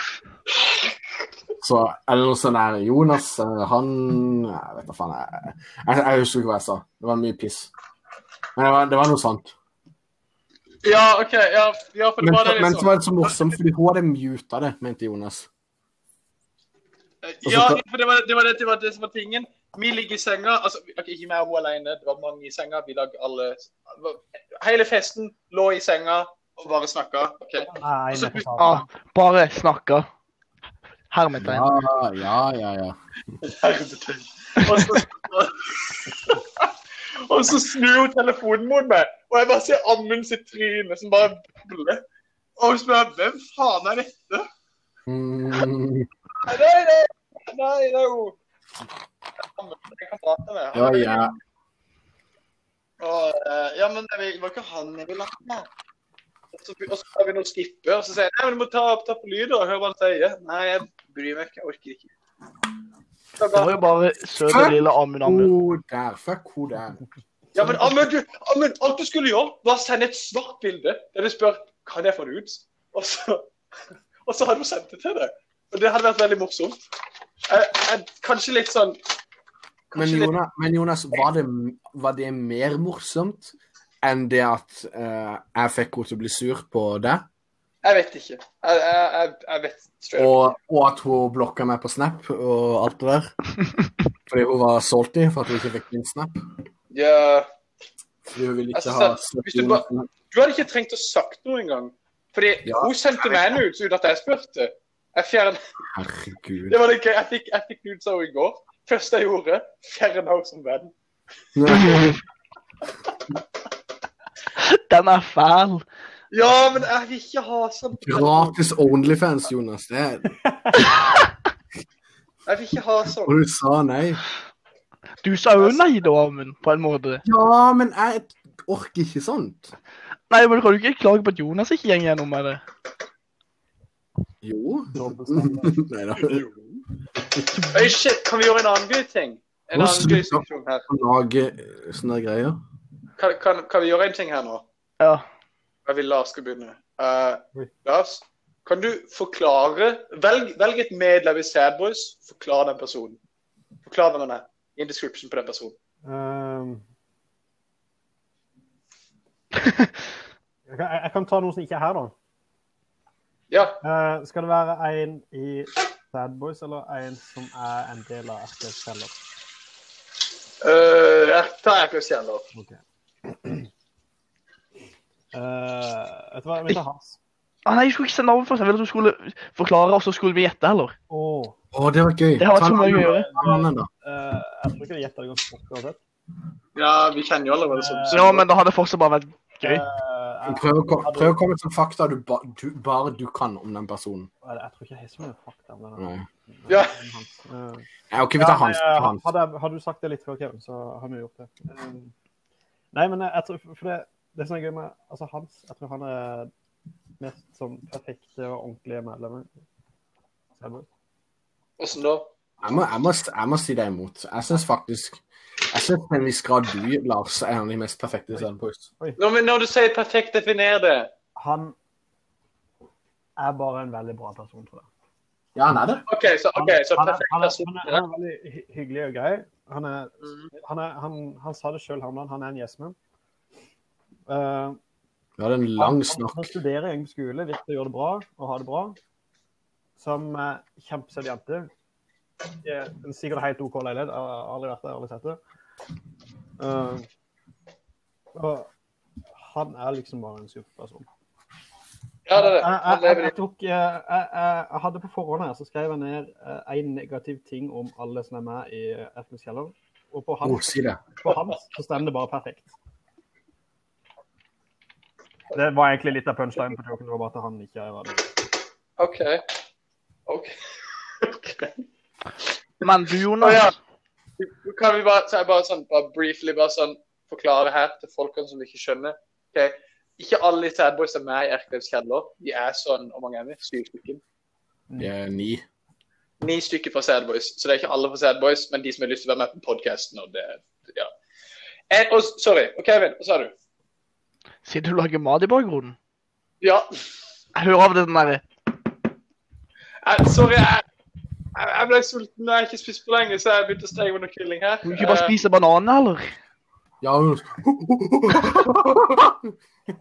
D: Så, eller noe sånt der. Jonas, eh, han Jeg vet da faen. Jeg, jeg, jeg husker ikke hva jeg sa. Det var mye piss. Men det var, det var noe sant.
A: Ja, OK. Ja, ja for det
D: Men,
A: var det,
D: men så
A: liksom.
D: var det så morsomt, fordi hun hadde muta det, mente Jonas.
A: Ja, for det var det, var det, det, var det som var tingen. Vi ligger i senga. altså, ok, Ikke meg og hun alene. Det var mange i senga. Vi lag alle Hele festen lå i senga og bare snakka. ok?
B: Nei,
A: Altså,
B: nettopp.
C: Ja, Ah, bare snakka. Hermetegn.
D: Ja, ja, ja. ja.
A: Hermetegn. Og så, og så snur hun telefonen mot meg, og jeg bare ser Amund sitt tryne som bare bobler. Og hun spør hvem faen er dette?
D: Mm,
A: Nei, nei, nei, nei, det er jo Amund jeg kan prate med.
D: ja, ja.
A: Og, eh, ja, men jeg vil- det var ikke han jeg ville ha med. Og så, og så tar vi noen skipper, og så sier jeg nei, men du må ta, ta på lyd og høre hva han sier. Nei, jeg bryr meg ikke, jeg orker ikke. Så jeg
C: Det var
A: bare,
C: jo bare søt og lille Amund Amund.
D: Hun der. Fuck hun der.
A: ja, men Amund, du, Amund, alt du skulle gjøre, var å sende et svart bilde der du spør kan jeg få det ut, og så, og så hadde hun sendt det til deg. Og det hadde vært veldig morsomt. Jeg, jeg, kanskje litt sånn
D: Men
A: Kanskje litt-
D: Jonas, men Jonas var, det, var det mer morsomt enn det at eh, jeg fikk henne til å bli sur på deg,
A: Jeg vet ikke. Jeg, jeg, jeg, jeg vet straight up.
D: og, og at hun blokka meg på Snap og alt det der? Fordi hun var salty for at hun ikke fikk min Snap?
A: Ja.
D: Fordi hun ville
A: Altså,
D: ikke ha
A: så- hvis
D: støtte
A: du
D: Jonas.
A: Du hadde ikke trengt å sagt noe engang. Fordi
D: Ja.
A: hun sendte meg en ut uten at jeg spurte. Jeg fjernet,
D: Herregud.
A: det var litt gøy. Jeg fikk, jeg fikk ut av henne i går. Første jeg gjorde, fjernet henne som venn.
C: Den er fæl.
A: Ja, men jeg vil ikke ha sånn
D: Gratis Onlyfans, Jonas. Det er,
A: Jeg vil ikke ha sånn.
D: og du sa nei.
C: Du sa jo nei da, Amund, på en måte.
D: Ja, men jeg orker ikke sånt.
C: Nei, men du kan jo ikke klage på at Jonas ikke går gjennom med det.
D: Jo.
B: Dobbeltstandard.
D: Nei da.
A: Oi, shit, kan vi gjøre en annen gøy ting? En
D: Nå
A: annen gøy
D: slutter-
A: situasjon her.
D: Lage sånne greier.
A: Kan, kan, kan vi gjøre en ting her nå?
C: Ja.
A: Jeg vil Lars skal begynne. Eh,
B: Oi.
A: Lars, kan du forklare Velg, velg et medlem i Sad Boys. Forklar den personen. Forklar hvem han er. In description på den personen.
B: Ehm. jeg, kan, jeg kan ta noen som ikke er her, da.
A: Ja.
B: Eh, skal det være en i Bad Boys eller en som er en del av RTF Kjeller?
A: Uh, jeg tar Erkløs igjen, da.
B: Ok. Eh, vet du hva, vi tar hans.
C: Ah, nei, jeg skulle ikke se navnet først. Jeg ville at du skulle forklare, og så skulle vi gjette heller.
B: Åh,
D: Å, det var gøy.
C: Det har vært
D: Ta
C: så
D: en
C: mye å
D: annen,
C: gjøre.
D: ta en annen, da.
B: eh, jeg tror ikke det gjetter ganske fort uansett.
A: Ja, vi kjenner jo allerede sånn.
C: Ja, men da hadde det fortsatt bare vært gøy.
B: Eh, jeg,
D: Prøv å, ko- prøv å komme til fakta du, ba, du bare du kan om den personen.
B: jeg tror ikke jeg har så mye fakta om den.
D: Nei.
A: Ja.
B: Eh,
D: Jeg ok, vi tar Hans.
B: Ja,
D: vi tar
B: nei, eh,
D: Hans.
B: hadde, jeg- hadde du sagt det litt før, Kevin, så hadde vi gjort det. Um, Nei, men jeg jeg tror For det, det som er gøy med altså Hans Jeg tror han er mest sånn perfekte og ordentlige medlemmer. Så jeg bare-
A: Åssen da?
D: Jeg må, jeg, må, jeg må si deg imot. Jeg syns faktisk Jeg synes til en viss grad du, Lars, er en av de mest perfekte sandboys.
A: Nå, men når du sier perfekt, definer det.
B: Han er bare en veldig bra person, tror jeg.
D: Ja, han er det.
A: OK, så,
B: Han,
A: ok, så
B: han, er,
A: perfekt altså.
B: han,
A: person.
B: er, han, er, han er veldig hy- hyggelig og grei. Han, er,
A: Mhm.
B: han, er, han, han sa det sjøl, han, han er en yes-man. Eh,
D: Vi hadde en lang
B: Han-
D: snakk.
B: Han studerer i en skole, virker å gjøre det bra og ha det bra. Som eh, kjempesøt jente. er en sikkert helt OK leilighet. Jeg har aldri vært der, aldri sett det. Eh, og han er liksom bare en superperson.
A: Ja, det er det.
B: Jeg,
A: Han
B: jeg,
A: lever i
B: jeg, tok, eh, jeg, jeg, jeg hadde på forhånd her, så skrev jeg ned én negativ ting om alle som er med i FNs kjeller. Og på
D: Å,
B: hans,
D: si det.
B: på hans så stemmer det bare perfekt. Det var egentlig litt av punchline på joken. Det var bare at han ikke var det.
A: OK. OK. Ok.
C: Men du, Jonas
A: Å, ja. Kan vi bare, så jeg bare, sånn, bare briefly bare sånn, forklare her til folkene som ikke skjønner? Ok, Ikke alle de sad boys er med i Erklevs kjeller. De er sånn hvor mange er vi? Syv stykker.
D: Det er ni.
A: Ni stykker fra sad boys. Så det er ikke alle fra sad boys, men de som har lyst til å være med på podkasten. Og det, ja. Eh, og, sorry. Og Kevin, hva sa du?
C: Sitter du og lager mat i bakgrunnen?
A: Ja.
C: Jeg hører av det den derre
A: Eh, sorry, jeg, jeg, jeg ble sulten. Jeg har ikke spist på lenge, så jeg begynte å steke med noe kylling her.
C: Kan du ikke bare
A: Eh,
C: spise bananer, eller?
D: Ja, hun-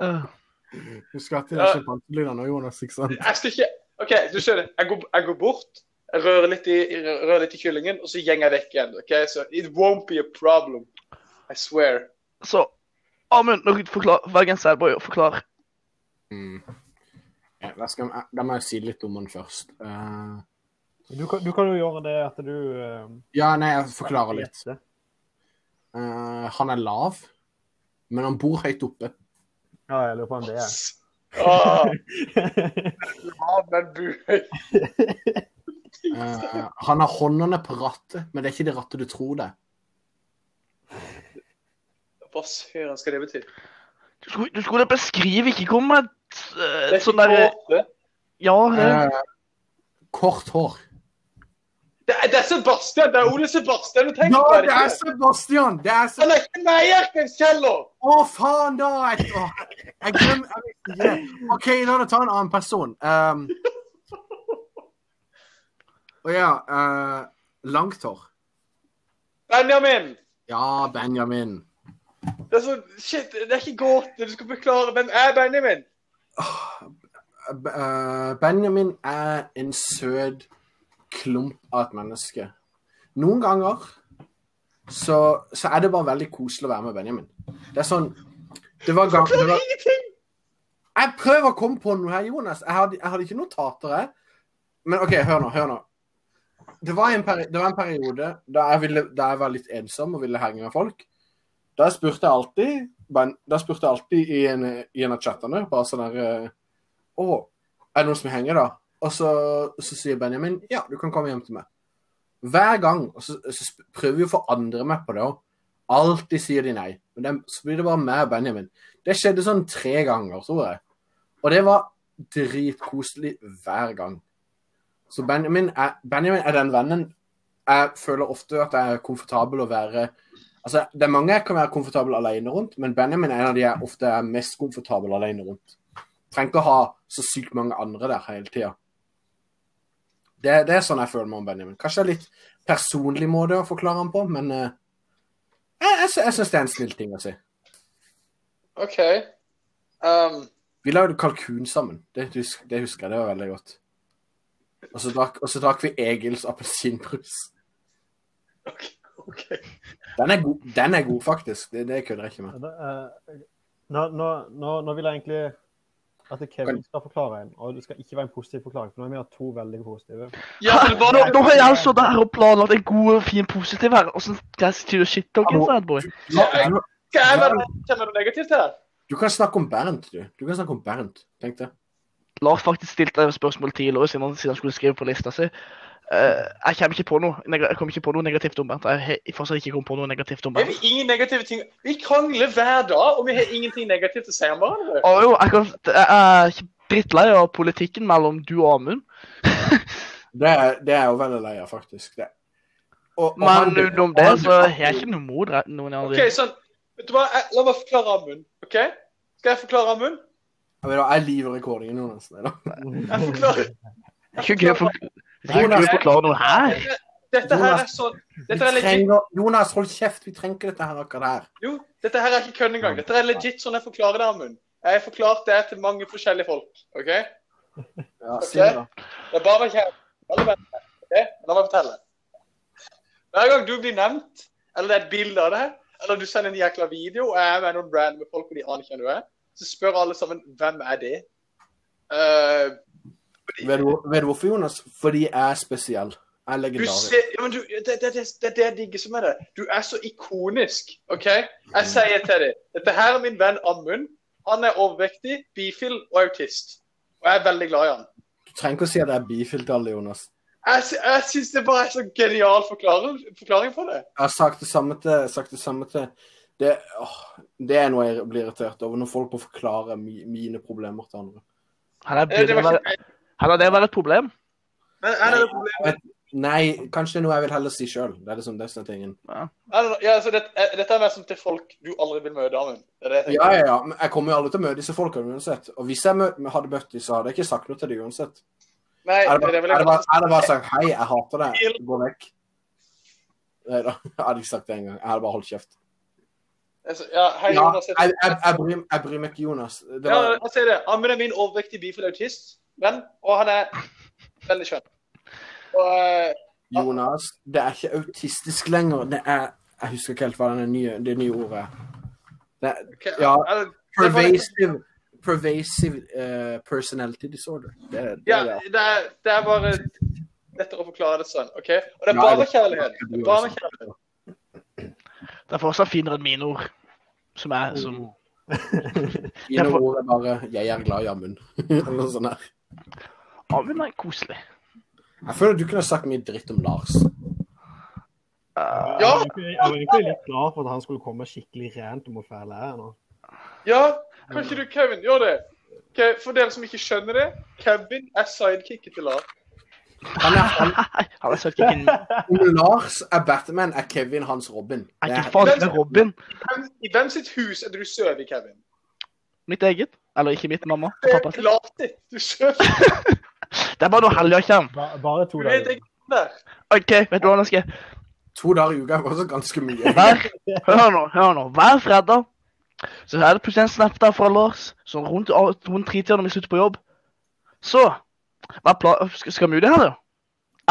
C: Eh,
D: Husk at det er sjimpanselydene nå, Jonas. ikke sant?
A: Eh, Jeg skal ikke OK, du skjønner. Jeg går, jeg går bort, jeg rører litt, i, jeg rører litt i kyllingen, og så gjenger jeg vekk igjen. ok? Så it won't be a problem. I swear.
C: så Amund, nå forklar, vær en sædboy og forklar.
D: Mm. Ja, da, skal, jeg- da må jeg si litt om han først. Eh,
B: Du kan, du kan jo gjøre det at du eh,
D: ja, nei, jeg forklarer litt.
B: gjetter.
D: Eh, han er lav, men han bor høyt oppe.
B: Ja, jeg lurer på om det er
A: Åh, ja, Ah, men bu.
D: Eh, han har håndene på rattet, men det er ikke det rattet du tror det. er.
A: Hva søren skal det bety?
C: Du skulle, du skulle beskrive, ikke komme med et eh,
A: Det er
C: sånn
A: ikke
C: derre
A: måte.
C: Ja, det
D: Eh, kort hår.
A: Det er, det er Sebastian! Det er Ole Sebastian du tenker
D: Ja,
A: på!
D: det er
A: ikke?
D: Sebastian! Det er
A: Han
D: Sebastian.
A: er ikke med i Erkens kjeller!
D: Å, faen da! Jeg, å, jeg glemmer jeg visste ikke det. OK, la oss ta en annen person. Um, og ja eh, Langt hår.
A: Benjamin!
D: Ja, Benjamin.
A: Det er sånn, shit, det er ikke gåte. Du skal forklare hvem er Benjamin.
D: B- eh, Benjamin er en søt klump av et menneske. Noen ganger så, så er det bare veldig koselig å være med Benjamin. Det er sånn Det var, gang, det
A: Det
D: var
A: er ingenting!
D: Jeg prøver å komme på noe her, Jonas. Jeg hadde, jeg hadde ikke notater, jeg. Men OK, hør nå. Hør nå. Det var en, peri det var en periode da jeg, ville, da jeg var litt ensom og ville henge med folk. Da spurte jeg alltid, ben, da spurte jeg alltid i en, i en av chattene bare sånn der eh, Å, er det noen som henger, da? Og så, så sier Benjamin ja, du kan komme hjem til meg. Hver gang. Og så, så sp- prøver vi å få andre med på det òg. Alltid sier de nei. Men det, så blir det bare meg og Benjamin. Det skjedde sånn tre ganger, tror jeg. Og det var dritkoselig hver gang. Så Benjamin er, Benjamin er den vennen jeg føler ofte at jeg er komfortabel å være Altså, det er mange jeg kan være komfortabel alene rundt, men Benjamin er en av de jeg ofte er mest komfortabel alene rundt. Trenger ikke å ha så sykt mange andre der hele tida. Det, det er sånn jeg føler meg om Benjamin. Kanskje det er litt personlig måte å forklare han på, men eh, jeg, jeg, sy- jeg syns det er en snill ting å si.
A: OK. Um,
D: Vi lagde kalkun sammen. Det, hus- det husker jeg. Det var veldig godt. Og så drakk, og så drakk vi Egils appelsinbrus.
A: OK. ok.
D: Den er god, den er god faktisk. Det, det kødder jeg ikke med.
B: Ja, det, eh, nå, nå, nå, nå vil jeg egentlig at Kevin skal forklare en, og det skal ikke være en positiv forklaring. for Nå har vi hatt to veldig positive.
A: Ja, for det var
C: Nå, nå har jeg altså der og planlagt en god, fin, positiv her, og så skal jeg si du shit-talking,
D: Hallo.
C: sædboy.
D: Du,
A: Skal jeg være kjenner noe negativt her?
D: du kan snakke om Bernt, du. Du kan snakke om Bernt. Tenk det.
C: Lars faktisk stilte et spørsmål tidligere siden han, siden han skulle skrive på lista si. Eh, jeg kommer ikke på noe neg- jeg kommer ikke på noe negativt om Bernt. Jeg har fortsatt ikke kommet på noe negativt om
A: Er
C: Bernt.
A: vi ingen negative ting? Vi krangler hver dag, og vi har ingenting negativt å si om hverandre.
C: Å jo, jeg, kan, jeg er drittlei av politikken mellom du og Amund.
D: Det er, det er jeg jo veldig lei av, faktisk. Det. Og- og
C: Men
D: han-
C: utenom
D: og
C: det
D: han-
C: så har jeg ikke noe mot re- noen av
A: Ok,
C: de.
A: sånn, vet du hva? Jeg, la meg forklare Amund, OK? Skal jeg forklare Amund?
D: Jeg vet da, Jeg liver rekordingen, Jonas. Nei da.
A: Jeg forklarer.
C: Det er ikke gøy å for- det er ikke
D: Jonas-
C: gøy å forklare noe her.
A: Dette, dette her er sånn
D: Vi
A: Dette er legit.
D: trenger, Jonas, hold kjeft! Vi trenger ikke dette her akkurat her.
A: Jo, dette her er ikke kødd engang. Dette er legit sånn jeg forklarer det, Amund. Jeg har forklart det til mange forskjellige folk, OK?
D: Ja, si det, da.
A: Det er bare å være Alle vet det. Ok, La meg fortelle. Hver gang du blir nevnt, eller det er et bilde av det, eller du sender en jækla video, og jeg er med noen random folk, og de aner ikke hvem du er, så spør alle sammen hvem er det? Eh,
D: Vet du, hvor- vet du hvorfor, Jonas? Fordi jeg er spesiell. Jeg er
A: du
D: legendarisk.
A: ser, ja, men du, det, det, det, det er det jeg digger som er det. Du er så ikonisk. ok? Jeg
D: Mm.
A: sier til deg dette her er min venn Amund. Han er overvektig, bifil og autist. Og jeg er veldig glad i han.
D: Du trenger ikke å si at jeg er bifil til alle, Jonas.
A: Jeg, sy- jeg syns det bare er så genial forklaring, forklaring på det.
D: Jeg har sagt det samme til, sagt det, samme til det, åh, det er noe jeg blir irritert over, når folk må forklare mi, mine problemer til andre.
C: Han er
A: Eh, Det
C: begynner å
A: var
C: være-
A: ikke meg.
C: Han er det å være et problem.
A: Men er det noe problem?
D: Nei, kanskje det er noe jeg vil heller si sjøl. Det er liksom det som er tingen.
A: Er det noe- Ja, altså, det, eh, dette er mer som til folk du aldri vil møte, Amund. Det er det jeg tenker.
D: Ja, ja, ja. Men jeg kommer jo aldri til å møte disse folka uansett. Og hvis jeg mø hadde møtt dem, så hadde jeg ikke sagt noe til dem uansett.
A: Nei,
D: Jeg hadde
A: det,
D: bare,
A: det
D: jeg
A: vil jeg
D: hadde bare, jeg hadde bare sagt hei, jeg hater deg, gå vekk. Nei da, jeg hadde ikke sagt det engang. Jeg hadde bare holdt kjeft.
A: Altså, Ja, hei,
D: Ja,
A: Jonas.
D: jeg, jeg, jeg, bryr, jeg bryr meg ikke, Jonas. Det
A: Ja,
D: var,
A: jeg sier det. Amund er min overvektige bifil autist, venn, og han er veldig skjønn. Og eh,
D: Jonas, det er ikke autistisk lenger. Det er Jeg husker ikke helt hva det nye, det nye ordet er. Det er
A: ok,
D: Ja.
A: er det-
D: pervasive, pervasive eh, personality disorder. Det, er- det
A: Ja,
D: er det.
A: det er, det er bare lettere å forklare det sånn. ok? Og det er
D: Ja,
A: bare
D: det-
A: kjærlighet. Det er bare kjærlighet.
C: Det er fortsatt finere enn mine ord. Som er som
D: Mine
C: Derfor-
D: ord er bare 'jeg er glad i Amund'. Eller noe sånt der.
C: Amund er koselig.
D: Jeg føler du kunne sagt mye dritt om Lars. Ah.
C: Eh,
B: Jeg var egentlig- jeg var egentlig litt glad for at han skulle komme skikkelig rent om å fæle her nå.
A: Ja, kan ikke du, Kevin, gjør det? Ok, For dere som ikke skjønner det, Kevin er sidekicket til Lars.
D: Han er, han,
C: han er søkt ikke min.
D: om Lars er Batman, er Kevin hans Robin.
C: Er ikke
D: Det er-
C: faen det er Robin
A: Hvem, I hvem sitt hus er det du sover i, Kevin?
C: mitt eget? Eller ikke mitt, mamma og
A: Det
C: pappa
A: er
C: sitt.
A: klart det. Du sover
C: Det er bare når helga kommer.
B: Ba, bare
A: Du
B: to
A: vet
B: dager.
A: ikke der.
C: OK, vet du hva, Norske?
D: To dager i uka er også ganske mye.
C: Hver, hør nå, hør nå. Hver fredag så er det plutselig en snap der fra Lars sånn rundt, rundt tretida når vi slutter på jobb. Så hva pla skal, skal vi ut her, da?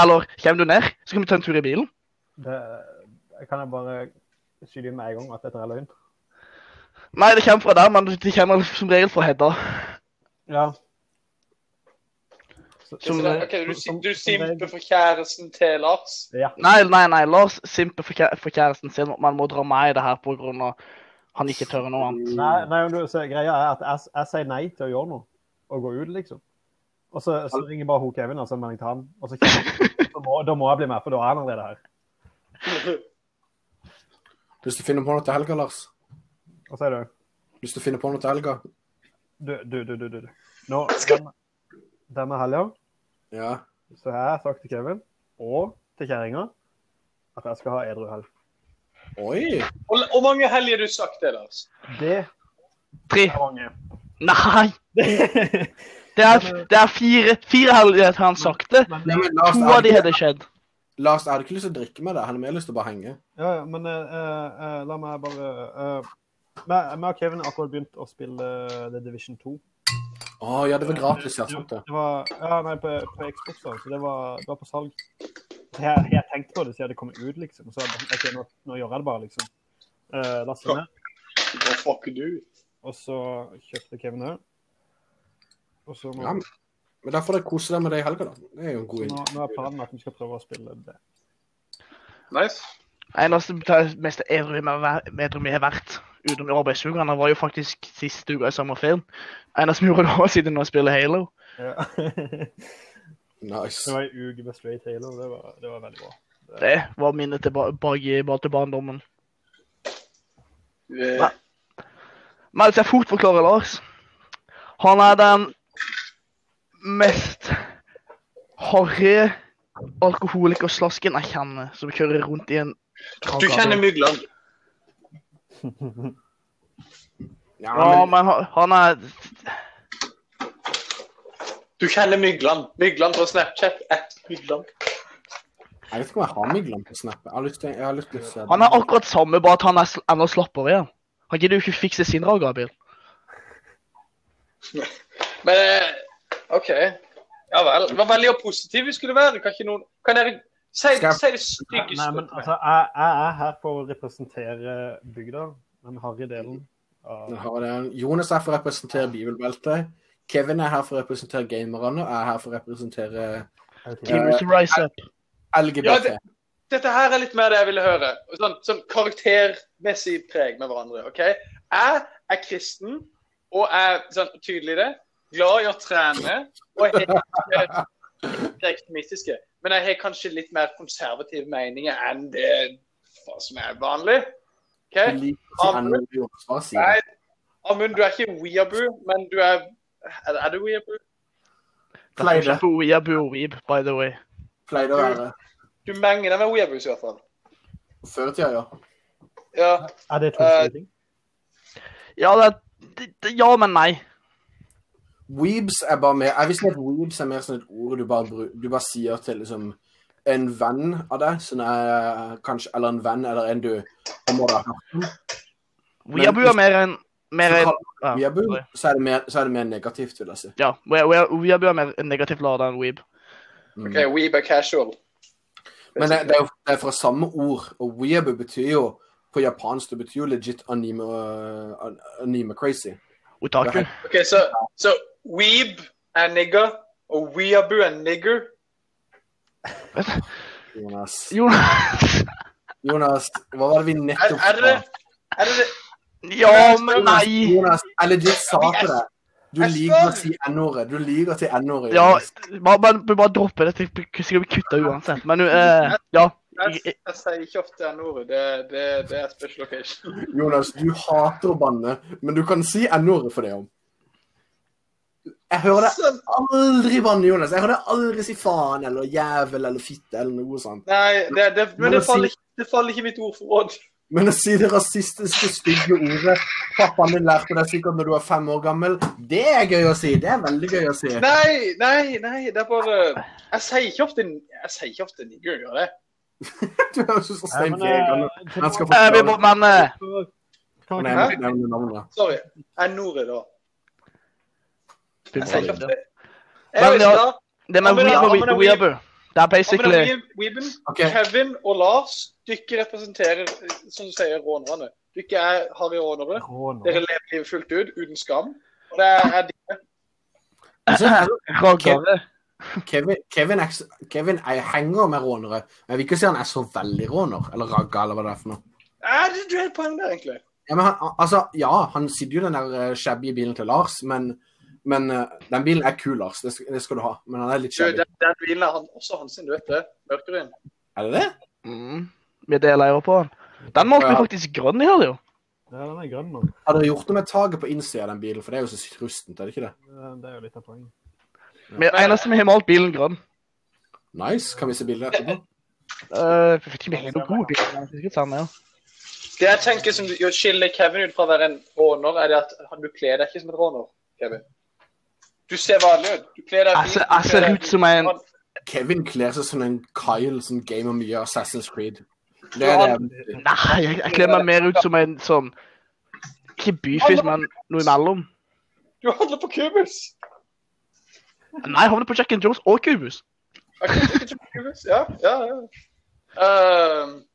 C: Eller kommer du ned? Så kan vi ta en tur i bilen.
B: Det, kan jeg bare skyte inn med en gang at dette er løgn?
C: Nei, det kommer fra deg, men det kommer som regel fra Hedda.
B: Ja.
A: Så det er- sånn ok, du, sim- du Mm. simper
B: for
A: for kjæresten til Lars.
B: Ja.
C: Nei, nei, nei. Lars simper for, kjæ- for kjæresten sin. Man må dra meg i det her på grunn av han ikke tør noe annet.
B: Nei, nei men du, så greia er at jeg, jeg sier nei til å gjøre noe. Og gå ut, liksom. Og så, så ringer bare hun Kevin og så melder jeg til han. Og så kjenner jeg- da må, da må jeg bli med, for da er han allerede her.
D: Lyst til å finne på noe til helga, Lars?
B: Og så er det
D: Lyst til å finne på noe til helga?
B: Du, du, du, du. du, du. Nå, denne, denne helga
D: Ja.
B: så har jeg sagt til Kevin og til kjerringa at jeg skal ha edru helg.
D: Oi!
A: Hvor hvor mange helger har du sagt det, Lars?
B: Det
C: Tre.
B: er mange.
C: Nei! Det er, det er fire, fire helger til han sakte.
D: Nei, men Lars,
C: To
D: jeg
C: av
D: hadde
C: de
D: ikke,
C: hadde skjedd.
D: Lars, jeg hadde ikke lyst til å drikke med deg. Jeg hadde mer lyst til å bare henge.
B: Ja, ja, men eh, eh, la meg bare eh, meg- Meg og Kevin har akkurat begynt å spille eh, The Division 2.
D: Å ja, det var gratis, ja. Sant det.
B: Det var, ja, nei, på, på Xbox, da, så det var, det var på salg. Så Jeg, jeg tenkte på det siden det kom ut, liksom. Så jeg, bare, ok, nå, nå gjør jeg det bare, liksom. Uh, Laste ned.
A: Hva fuck du?
B: Og så kjøpte Kevin det. Og så
D: Ja,
B: må,
D: men- men da får dere kose deg med det i helga, da. Det er jo en god
B: nå,
D: idé.
B: nå er planen at vi skal prøve å spille det.
A: Nice.
C: Eneste beta- meste edru vi har væ- edru vi har vært utenom arbeidsukene, var jo faktisk siste uka i sommerferien. Eneste vi gjorde da, siden nå spiller Halo.
B: Ja. det
D: Nice.
B: var en uke med straight halo, det var, det var veldig bra.
C: Det var minnet tilbake bare til barndommen.
A: Eh,
C: Nei. Men hvis jeg fort forklarer Lars Han er den mest harry alkoholikerslasken jeg kjenner, som kjører rundt i en
A: Du kjenner Mygland.
D: Ja,
C: Ja,
D: men
C: men han- han er
A: Du kjenner Mygland. Mygland på Snapchat. At Mygland.
D: jeg vet ikke om jeg har Migland på Snap. Jeg har lyst til, jeg har lyst til å se det.
C: Han er akkurat samme, bare at han er sl- enda slappere igjen. Han gidder jo ikke fikse sin rag, Gabriel.
A: Men eh, OK. Ja vel. Det var veldig positiv vi skulle være. Kan ikke noen Kan dere si,
D: Skal jeg-
A: si det
B: Nei,
A: styggeste?
B: nei, men altså, jeg, jeg er her for å representere bygda, den harry delen. Av,
D: Den har det. Jonas er for å representere bibelbeltet. Kevin er her for å representere gamerne, og jeg er her for å representere
B: ja.
C: Gamers rise up.
D: LGBT.
A: Ja, det- Dette her er litt mer det jeg ville høre. Sånn, sånn karaktermessig preg med hverandre. ok? Jeg er kristen, og er sånn, tydelig i det. Glad i å trene. Og jeg er ikke ekstremistiske. Men jeg har kanskje litt mer konservative meninger enn det hva som er vanlig.
D: Jeg
A: ok?
D: liker ikke ennå det Jonas bare sier.
A: Nei, Amund, du er ikke weeaboo, men du er Er, er du weeaboo?
C: Det er
D: Pleide.
C: ikke på weeaboo og weeb, by the way.
D: Pleide å være
A: Du menger deg med weeaboos, i hvert fall.
D: før i tida, ja.
A: Ja.
B: Er det to forskjellige ting?
C: Ja, det, er- det, det, ja men nei.
D: Weebs er bare mer Jeg visste at weebs er mer sånn et ord du bare, bru- du bare sier til liksom en venn av deg, sånn er, kanskje, eller en venn eller en du du må da ha hørt om.
C: Weeaboo er mer enn mer
D: Så
C: enn
D: kaller du weeaboo, så er det mer, så er det mer negativt, vil jeg si.
C: Ja, we- we- weeaboo er mer negativt lada enn weeb.
D: Mm.
A: OK, weeb er casual.
D: Men det, det, er jo, det er fra samme ord, og weeaboo betyr jo på japansk det betyr jo legit anime, uh, anime crazy.
C: Otaku.
A: Ok, så, så weeb er nigger, og weeaboo er nigger.
D: Jonas,
C: Jonas
D: Jonas hva var det vi
A: Er,
D: nettopp
A: er det er det?
C: Ja, men nei.
D: Jonas, jeg legit sa til deg Du
A: Jeg
D: liker å
A: spør.
D: si n-ordet. Du liker å si n-ordet.
C: Ja,
D: Jonas.
C: bare, bare, bare droppe det. Det skal bli kutta uansett. Men eh, ja.
A: Jeg, jeg sier ikke ofte n-ordet. Det, det, det er special occasion.
D: Jonas, du hater å banne, men du kan si n-ordet for det om. Jeg hører deg
A: Sånn.
D: aldri banne, Jonas. Jeg hører deg aldri si faen eller jævel eller fitte eller noe sånt.
A: Nei, det, det, men det
D: Men å
A: faller,
D: si-
A: ikke- det faller ikke i mitt ordforråd.
D: Men å si det rasistiske, stygge ordet pappaen din lærte deg sikkert når du var fem år gammel, det er gøy å si. Det er veldig gøy å si.
A: Nei, nei, nei. Det er bare Jeg sier ikke ofte, jeg sier ikke ofte nigger, gjør jeg det?
D: Du høres ut som
B: Nei,
D: Stein
B: men,
D: Jegerne.
B: eh, til-
D: Han skal
C: Eh, vi må,
D: forklare
C: men eh,
B: Kan vi
D: Nei, jeg må ikke nevne navnet.
A: Sorry. N-ordet, da. Jeg sier ikke ofte.
C: Men
A: Jeg vet
C: ja,
A: ikke, da.
C: det med
A: Ja, men det-
C: weeb og
A: ja, men det-
C: we- weeaboo Det er
A: Amund og
C: basically
A: Weeb- Weeben,
D: Ok.
A: Kevin og Lars, dere representerer, eh, som du sier, rånerne. Dere er harry rånere.
B: Rå nå.
A: Dere lever livet fullt ut, uten skam. Og det er, er de-
D: Så er det
C: raggere.
D: Kevin, Kevin, er, ikke så- Kevin er, henger med rånere. men Jeg vil ikke si han er så veldig råner, eller ragga, eller hva det er for noe.
A: er det du har et poeng der, egentlig?
D: Ja, men han, altså, ja, han sitter jo i den der eh, shabby bilen til Lars, men, men eh, den bilen er kul, Lars. Det skal, det skal du ha. Men han er litt
A: Du,
D: shabby.
A: den, den bilen er han, også hans, sin, du vet det. Mørkerøyen.
D: Er det det?
C: Mm, vi deler jo på den. Den målte vi faktisk grønn i her, jo.
B: Ja, Den er grønn nå.
D: Har dere gjort noe med taket på innsida av den bilen? For det er jo så rustent, er det ikke det?
B: Eh, Det er jo litt av poenget.
C: Vi eneste vi har malt bilen grønn.
D: Nice. Kan vi se bildet etterpå?
C: Eh, jeg vet ikke om vi har noen gode biler. men det er sikkert samme, ja.
A: Det jeg tenker som gjør- skiller Kevin ut fra å være en råner, er det at han- du kler deg ikke som en råner. Kevin. Du ser vanlig ut. Du kler deg
C: Jeg ser- jeg ser ut som en-
D: Kevin kler seg som en Kyle som gamer mye Assassin's Creed. Det
A: Ja,
D: er
A: han-
D: det.
C: Nei, jeg, jeg kler meg mer ut som en sånn Ikke byfis, men noe imellom.
A: Du handler på Cubus!
C: Nei, jeg havner på Jack and Jones og Cubus.
A: Er ikke- er ikke du på Cubus? Ja, ja, ja. Ehm,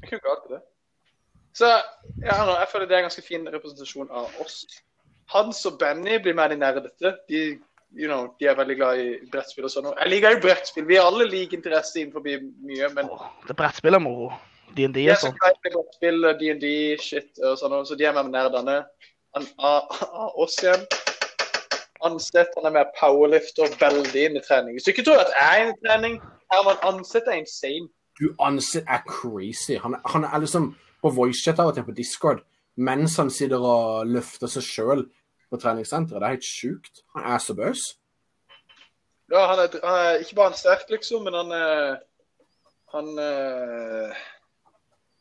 A: jeg kunne ikke hatt det. Så ja, nå, jeg føler det er en ganske fin representasjon av oss. Hans og Benny blir mer de nerdete. De, you know, de er veldig glad i brettspill og sånn. Og Jeg liker jo brettspill. Vi har alle lik interesse innenfor mye, men
C: Åh, Det er brettspill er moro. DND
A: de
C: og
A: er så
C: sånn.
A: glad i eh, brettspill, D&D, shit og sånn, og så de er mer nerdene. Han av av oss igjen. Ansett han er mer powerlifter, veldig inn i trening. Hvis du ikke tror at jeg er inn i trening, Herman Ansett er insane.
D: Du anser er crazy. Han, er- han er liksom på voicechat av og til på Discord mens han sitter og løfter seg sjøl på treningssenteret. Det er helt sjukt. Han er så bøs.
A: Ja, han er, han er ikke bare han sterk, liksom, men han er han, eh,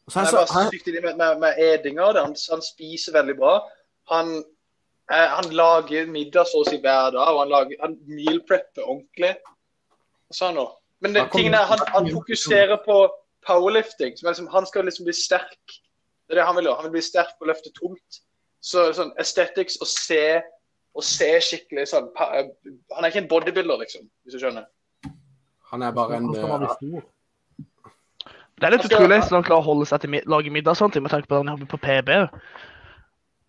D: Og så
A: han
D: er
A: er
D: så,
A: bare
D: han,
A: sykt inni med, med, med edinga. det. Han, han spiser veldig bra. Han, eh, han lager middag så å si hver dag, og han, lager, han meal prepper ordentlig. Hva sa han nå? Men det,
D: Da kom-
A: tingen er, han,
D: da kom-
A: han fokuserer på powerlifting. Som er liksom, han skal liksom bli sterk. Det er det han vil gjøre. Han vil bli sterk og løfte tungt. Så sånn aesthetics, å se og ser skikkelig sånn pa- Han er ikke en bodybuilder, liksom, hvis du skjønner.
D: Han er bare en eh,
B: Hvordan skal man bli stor?
C: Det er litt
A: Altså,
C: utrolig hvordan han klarer å holde seg til mid lage middag og sånne ting, med tanke på at han jobber på PB.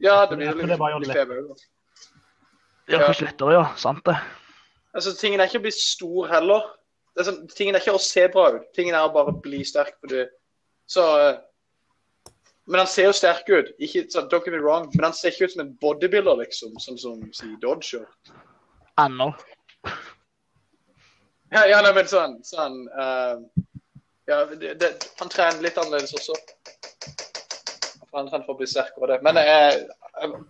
A: Ja, det blir
B: Ja,
A: jo
B: for det
A: litt
B: var jo lett.
A: feber.
C: Det er kanskje lettere, ja. Sant det.
A: Altså, tingen er ikke å bli stor heller. Det er sånn, tingen er ikke å se bra ut. Tingen er å bare bli sterk. på det. Så, eh, men han ser jo sterk ut. Ikke, så, don't get me wrong, men han ser ikke ut som en bodybuilder, liksom. Sånn som si, Dodger.
C: Ennå.
A: Ja, ja nei, men sånn, sånn eh, ja, det, det, Han trener litt annerledes også. Han trener for å bli sterkere og det. Men eh,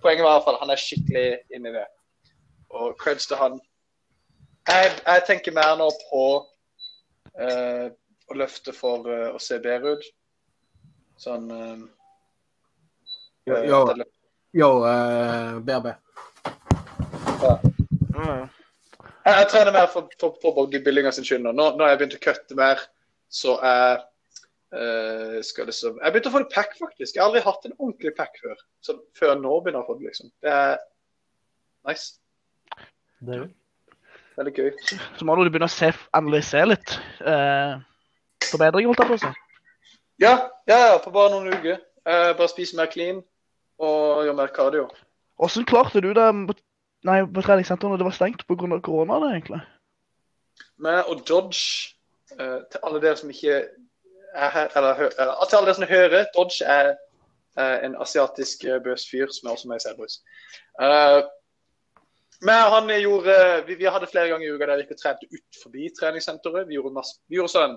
A: poenget var i hvert fall han er skikkelig inni det. Og creds til han. Jeg, jeg tenker mer nå på eh, å løfte for eh, å se bedre ut. Sånn eh,
D: Ja, ja.
A: dette løftet.
D: Yo, eh, BRB.
A: Jeg, jeg trener mer for, for, for bodybuildinga sin skyld nå. nå. Nå har jeg begynt å kutte mer, så jeg eh, skal liksom Jeg begynte å få det pack, faktisk. Jeg har aldri hatt en ordentlig pack før. Så før nå begynner jeg å få det, liksom. Det er nice.
B: Det er jo
A: Veldig gøy.
C: Så må du begynne å se, analysere litt. Eh, forbedring, holdt jeg på å si.
A: Ja, ja, ja, på bare noen uker. Eh, bare spise mer clean og gjøre mer cardio.
C: Hvordan klarte du det på, nei, på treningssenteret når det var stengt pga. korona? det egentlig?
A: med å dodge eh, til alle dere som ikke er her, eller, hø- eller ah, til alle dere som hører, dodge er eh, en asiatisk eh, bøs fyr som er også med i Selbrus. Eh, men han gjorde, vi, vi hadde flere ganger i uka der vi gikk og trente ut forbi treningssenteret. Vi gjorde, masse, vi gjorde sånn,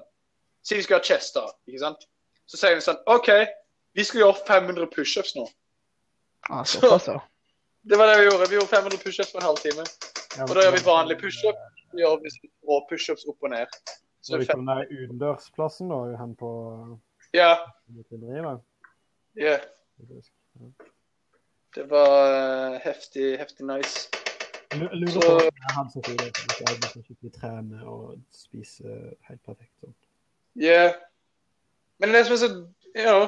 A: si vi skulle ha chest da, ikke sant? Så sier vi sånn, ok, vi skal gjøre 500 push-ups nå.
C: Ah, såpass, ja.
A: Det var det vi gjorde, vi gjorde 500 push-ups på en halv time. Og da gjør vi vanlig push-up, vi gjør vi- og push-ups opp og ned. Så
B: Så
A: det
B: vi
A: er fem,
B: den der utendørsplassen da, hen på
A: ja,
B: Drivet.
A: ja. Det var eh, heftig, heftig nice.
B: Jeg lurer på
A: Så-
B: om jeg hadde sett ut hvis jeg hadde begynt å trene og spise helt perfekt. Sånn.
A: Yeah. Men det er som er så Ja.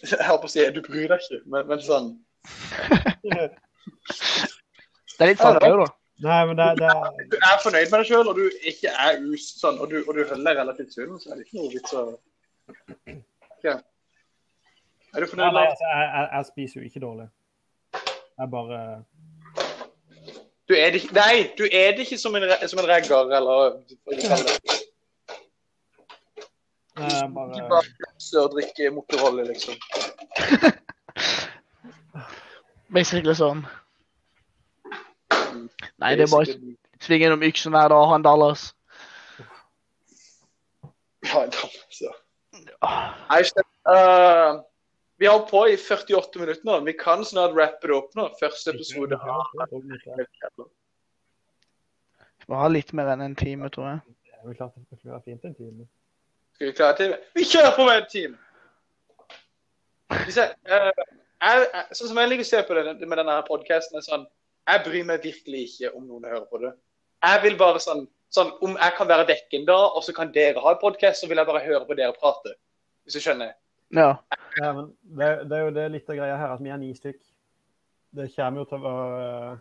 A: Jeg holdt på å si du bryr deg ikke, men, men sånn
C: Det er litt sant, det òg, da.
B: Nei, men det, det er
A: Du er fornøyd med deg sjøl, og du ikke er us sånn, og du, og du holder deg relativt sunn, så er det ikke noe vits å Ja. Er du
B: Nei,
A: fornøyd
B: nei,
A: med
B: altså, jeg, jeg, jeg spiser jo ikke dårlig. Jeg bare
A: Du er det ikke Nei, du er det ikke som en, re- som en regger, eller hva du kaller det.
B: Nei,
A: Du
B: jeg bare
A: bare pølser og drikker motorolje, liksom.
C: Basically sånn. Nei, det er bare å svinge innom yksen hver dag og ha en dollars.
A: Ja, en dame, så.
C: Ah,
A: Nei, ikke det. Eh, vi har holdt på i 48 minutter nå. Vi kan snart rappe det opp nå. Første episode.
B: Mhm.
A: av-
B: Det
C: Vi har litt mer enn en time, tror jeg.
B: er jo klart at det skulle være fint en time.
A: Skal vi klare til? Vi kjører på med en time! Hvis jeg, eh, jeg, jeg, sånn som jeg liker å se på det med denne podkasten, er sånn Jeg bryr meg virkelig ikke om noen hører på det. Jeg vil bare sånn, sånn Om jeg kan være dekken da, og så kan dere ha en podkast, så vil jeg bare høre på dere prate. Hvis du skjønner?
C: Ja.
B: Ja, men det, det er jo det litt av greia her, at vi er ni stykk. Det kommer jo til å være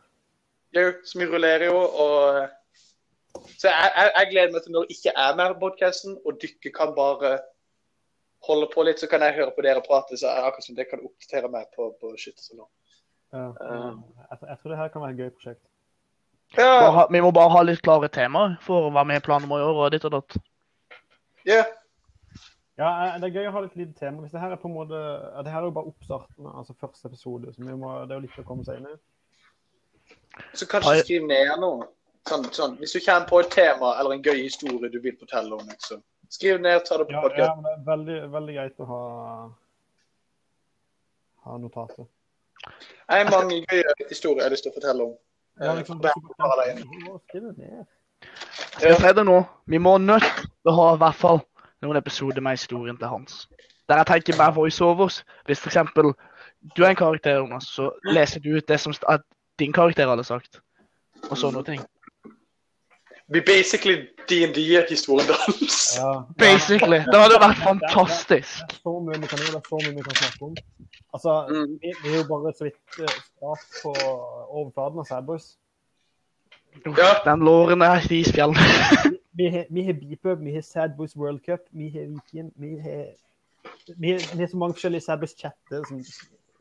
A: Jo, så vi rullerer jo, og eh, Så jeg, jeg, jeg gleder meg til når det ikke er mer på podkasten, og dere kan bare holde på litt, så kan jeg høre på dere prate, så jeg, akkurat som dere kan oppdatere meg på, på shit. og Sånn.
B: eh, ja,
A: Eh.
B: jeg, jeg tror det her kan være et gøy prosjekt.
C: Bare,
A: Ja,
C: ha- vi må bare ha litt klare temaer for hva vi planer om å gjøre. og ditt og datt.
A: ja,
B: Ja, eh, det er gøy å ha litt lite tema. Hvis det her er på en måte ja, Det her er jo bare oppstarten, altså første episode, så vi må, det er jo litt å komme seg inn i.
A: så kanskje skriv ned noe. Sånn, sånn. Hvis du kommer på et tema eller en gøy historie du vil fortelle om, liksom. skriv ned, ta det på
B: Ja,
A: podkast.
B: ja, men det er veldig, veldig greit å ha ha notater.
A: Jeg har mange gøye historier jeg har lyst til å fortelle om.
B: Ja, liksom,
A: Eh, bare alene.
B: skriv det ned.
C: Skal jeg si det nå? Vi må nødt til å ha i hvert fall noen episoder med historien til Hans. Der jeg tenker mer voiceovers. Hvis for eksempel du er en karakter, Jonas, så leser du ut det som st- at din karakter hadde sagt. Og sånne ting.
A: Vi basically DND-historien deres.
B: Ja.
C: Basically. Det hadde jo vært fantastisk.
B: Det er så mye vi kan gjøre, det er så mye vi kan snakke om. Altså,
A: Mm.
B: vi, vi er jo bare så vidt eh, skrapt på overflaten av Sad Boys.
C: Uff,
A: Ja.
C: Den låren er et isfjell.
B: Vi har, vi har Beepup, vi har Sad Boys World Cup, vi har Viken, vi har vi har, vi har så mange forskjellige Sad Boys-chatter som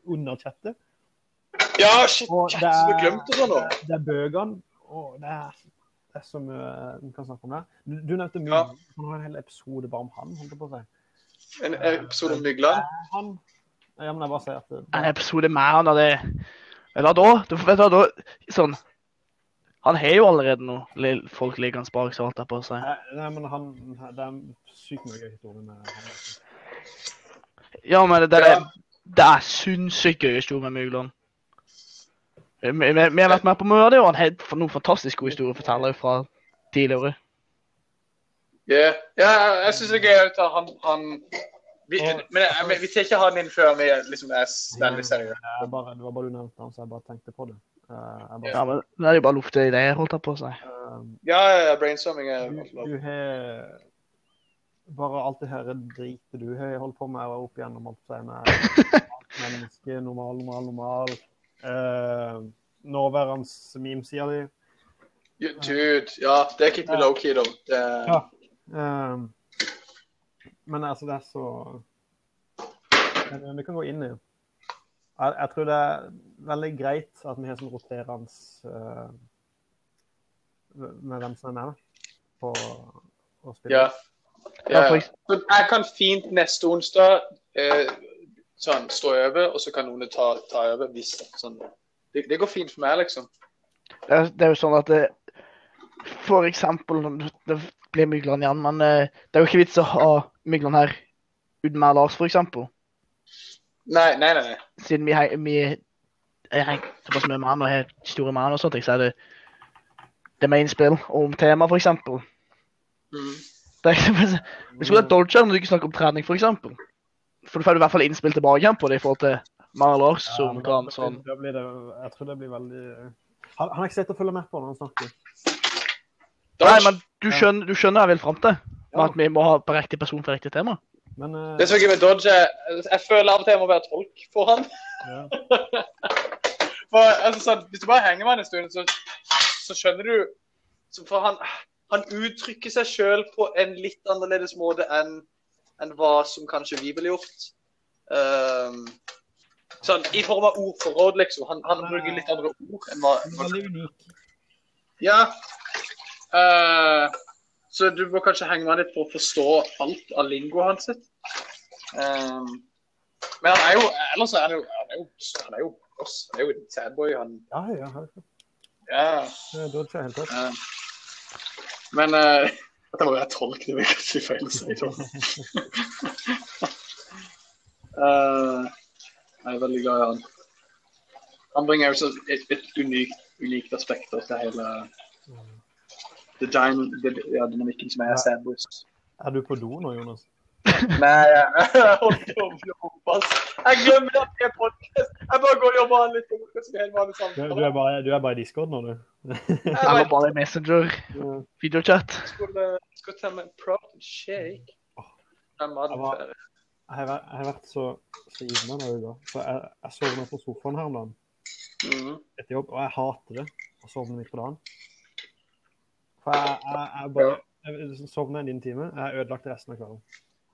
B: underchatter.
A: Ja, shit,
B: Og
A: shit,
B: det
A: så vi
B: er-
A: glemte det nå.
B: Det er bøkene, og det er, det er så mye vi kan snakke om der. Du, du nevnte mye.
A: Ja.
B: Han har en hel episode bare om han. holdt jeg på å si.
A: En episode om Mygland.
B: Han Ja, men jeg bare sier at eh, det,
C: En episode med han av det Eller da? Du får vet du hva, da Sånn Han har jo allerede noe li- folk liggende bak seg, holdt jeg på å si.
B: Nei, Nei, men han Det er sykt mye gøy historie med han.
C: Ja, men det, det,
A: Ja.
C: det er sinnssykt gøy historie med Mugland. Vi, vi, vi har vært med på mye av det, og han har noen fantastisk gode historier å fortelle fra tidligere.
A: Ja, ja jeg syns det er gøy at han, han vi,
B: Og-
A: Men jeg, men vi tar ikke han inn før vi liksom er veldig seriøse.
B: Jeg bare, det var bare du nevnte han, så jeg bare tenkte på det. Eh, Jeg bare,
C: Ja, men Det er jo bare luftige ideer, holdt jeg på å si.
B: eh,
A: Ja, ja, ja, brainstorming er
B: Du, du har bare alt det her dritet du har holdt på med og opp igjennom alt det med menneske, normal, normal, normal. Eh, nåværende memesida di.
A: Ja, Dude, ja, det kicker vi low-key, da. Det,
B: Ja. Eh, men altså, det er så Men Vi kan gå inn i det. Jeg, jeg tror det er veldig greit at vi har sånn roterende eh, med hvem som er med på å spille.
A: ja.
C: Ja, for, eks-
A: Så jeg kan fint neste onsdag eh, sånn, stå over, og så kan noen ta, ta over hvis sånn. det, det går fint for meg, liksom.
C: det, er- det er jo sånn at det, For eksempel Det blir Mygland igjen, men eh, det er jo ikke vits å ha Mygland her uten meg og Lars, for eksempel.
A: Nei, nei, nei. nei.
C: Siden vi, hei- vi jeg henger såpass mye med han og har store med han og sånt, så er det det med innspill og om tema, for eksempel.
A: Mm.
C: Det er ikke, Hvis du
B: Mm.
C: er dodger når du ikke snakker om trening, for eksempel. For da får du i hvert fall innspill tilbake igjen på det i forhold til Mara Lars,
B: Ja,
C: som
B: men
C: kan
B: da-
C: sånn
B: da blir det, Jeg tror det blir veldig Han, han har ikke sett å følge med på når han snakker.
C: Nei,
A: Dodge.
C: men du skjønner, du skjønner hva jeg vil fram til? Med
B: Ja.
C: at vi må ha på riktig person for riktig tema?
B: Men eh,
A: Det som er gøy med Dodge, er jeg føler av og til jeg må være tolk for han.
B: ja.
A: For, altså, sånn, hvis du bare henger med han en stund, så, så skjønner du så For han, han uttrykker seg sjøl på en litt annerledes måte enn enn hva som kanskje vi ville gjort. Ehm, sånn, I form av ordforråd, liksom. Han, han bruker litt andre ord enn hva,
B: han er
A: hva
B: veldig unik.
A: Ja. Eh, så du må kanskje henge med litt for å forstå alt av lingoen hans. sitt. Ehm, men han er jo Ellers er han jo Han er jo, han er jo oss. Han er jo en sadboy, han.
B: Ja, ja, ja.
A: Ja.
B: Det er ikke helt rett.
A: eh. men eh, Dette må være tolkning, det kan si feil å si. tror jeg. Eh, jeg er veldig glad i han. Han bringer også et, et unikt, unikt aspekt da til hele eh, The dyn the, ja, dynamikken som er
B: Ja.
A: Sad Boys.
B: Er du på do nå, Jonas?
A: Nei, jeg holdt på å jobbe, ass. Jeg glemmer at jeg er podcast. Jeg bare går og jobber han litt. Det er en vanlig
B: Du,
A: samtale.
B: du, er, bare, du er bare i discord nå, du?
A: Jeg bare-
C: Eller bare Messenger?
B: Ja.
C: Videochat?
A: skulle, skulle ta meg en protein shake. Den maten
B: Jeg var-
A: ferdig.
B: Jeg har, vært- jeg har vært så sliten denne uka. Så jeg, jeg sovna på sofaen her om dagen
A: Mhm.
B: etter jobb, og jeg hater det å sovne midt på dagen. For jeg, jeg, jeg bare jeg sovner en liten time. Jeg er ødelagt resten av kvelden.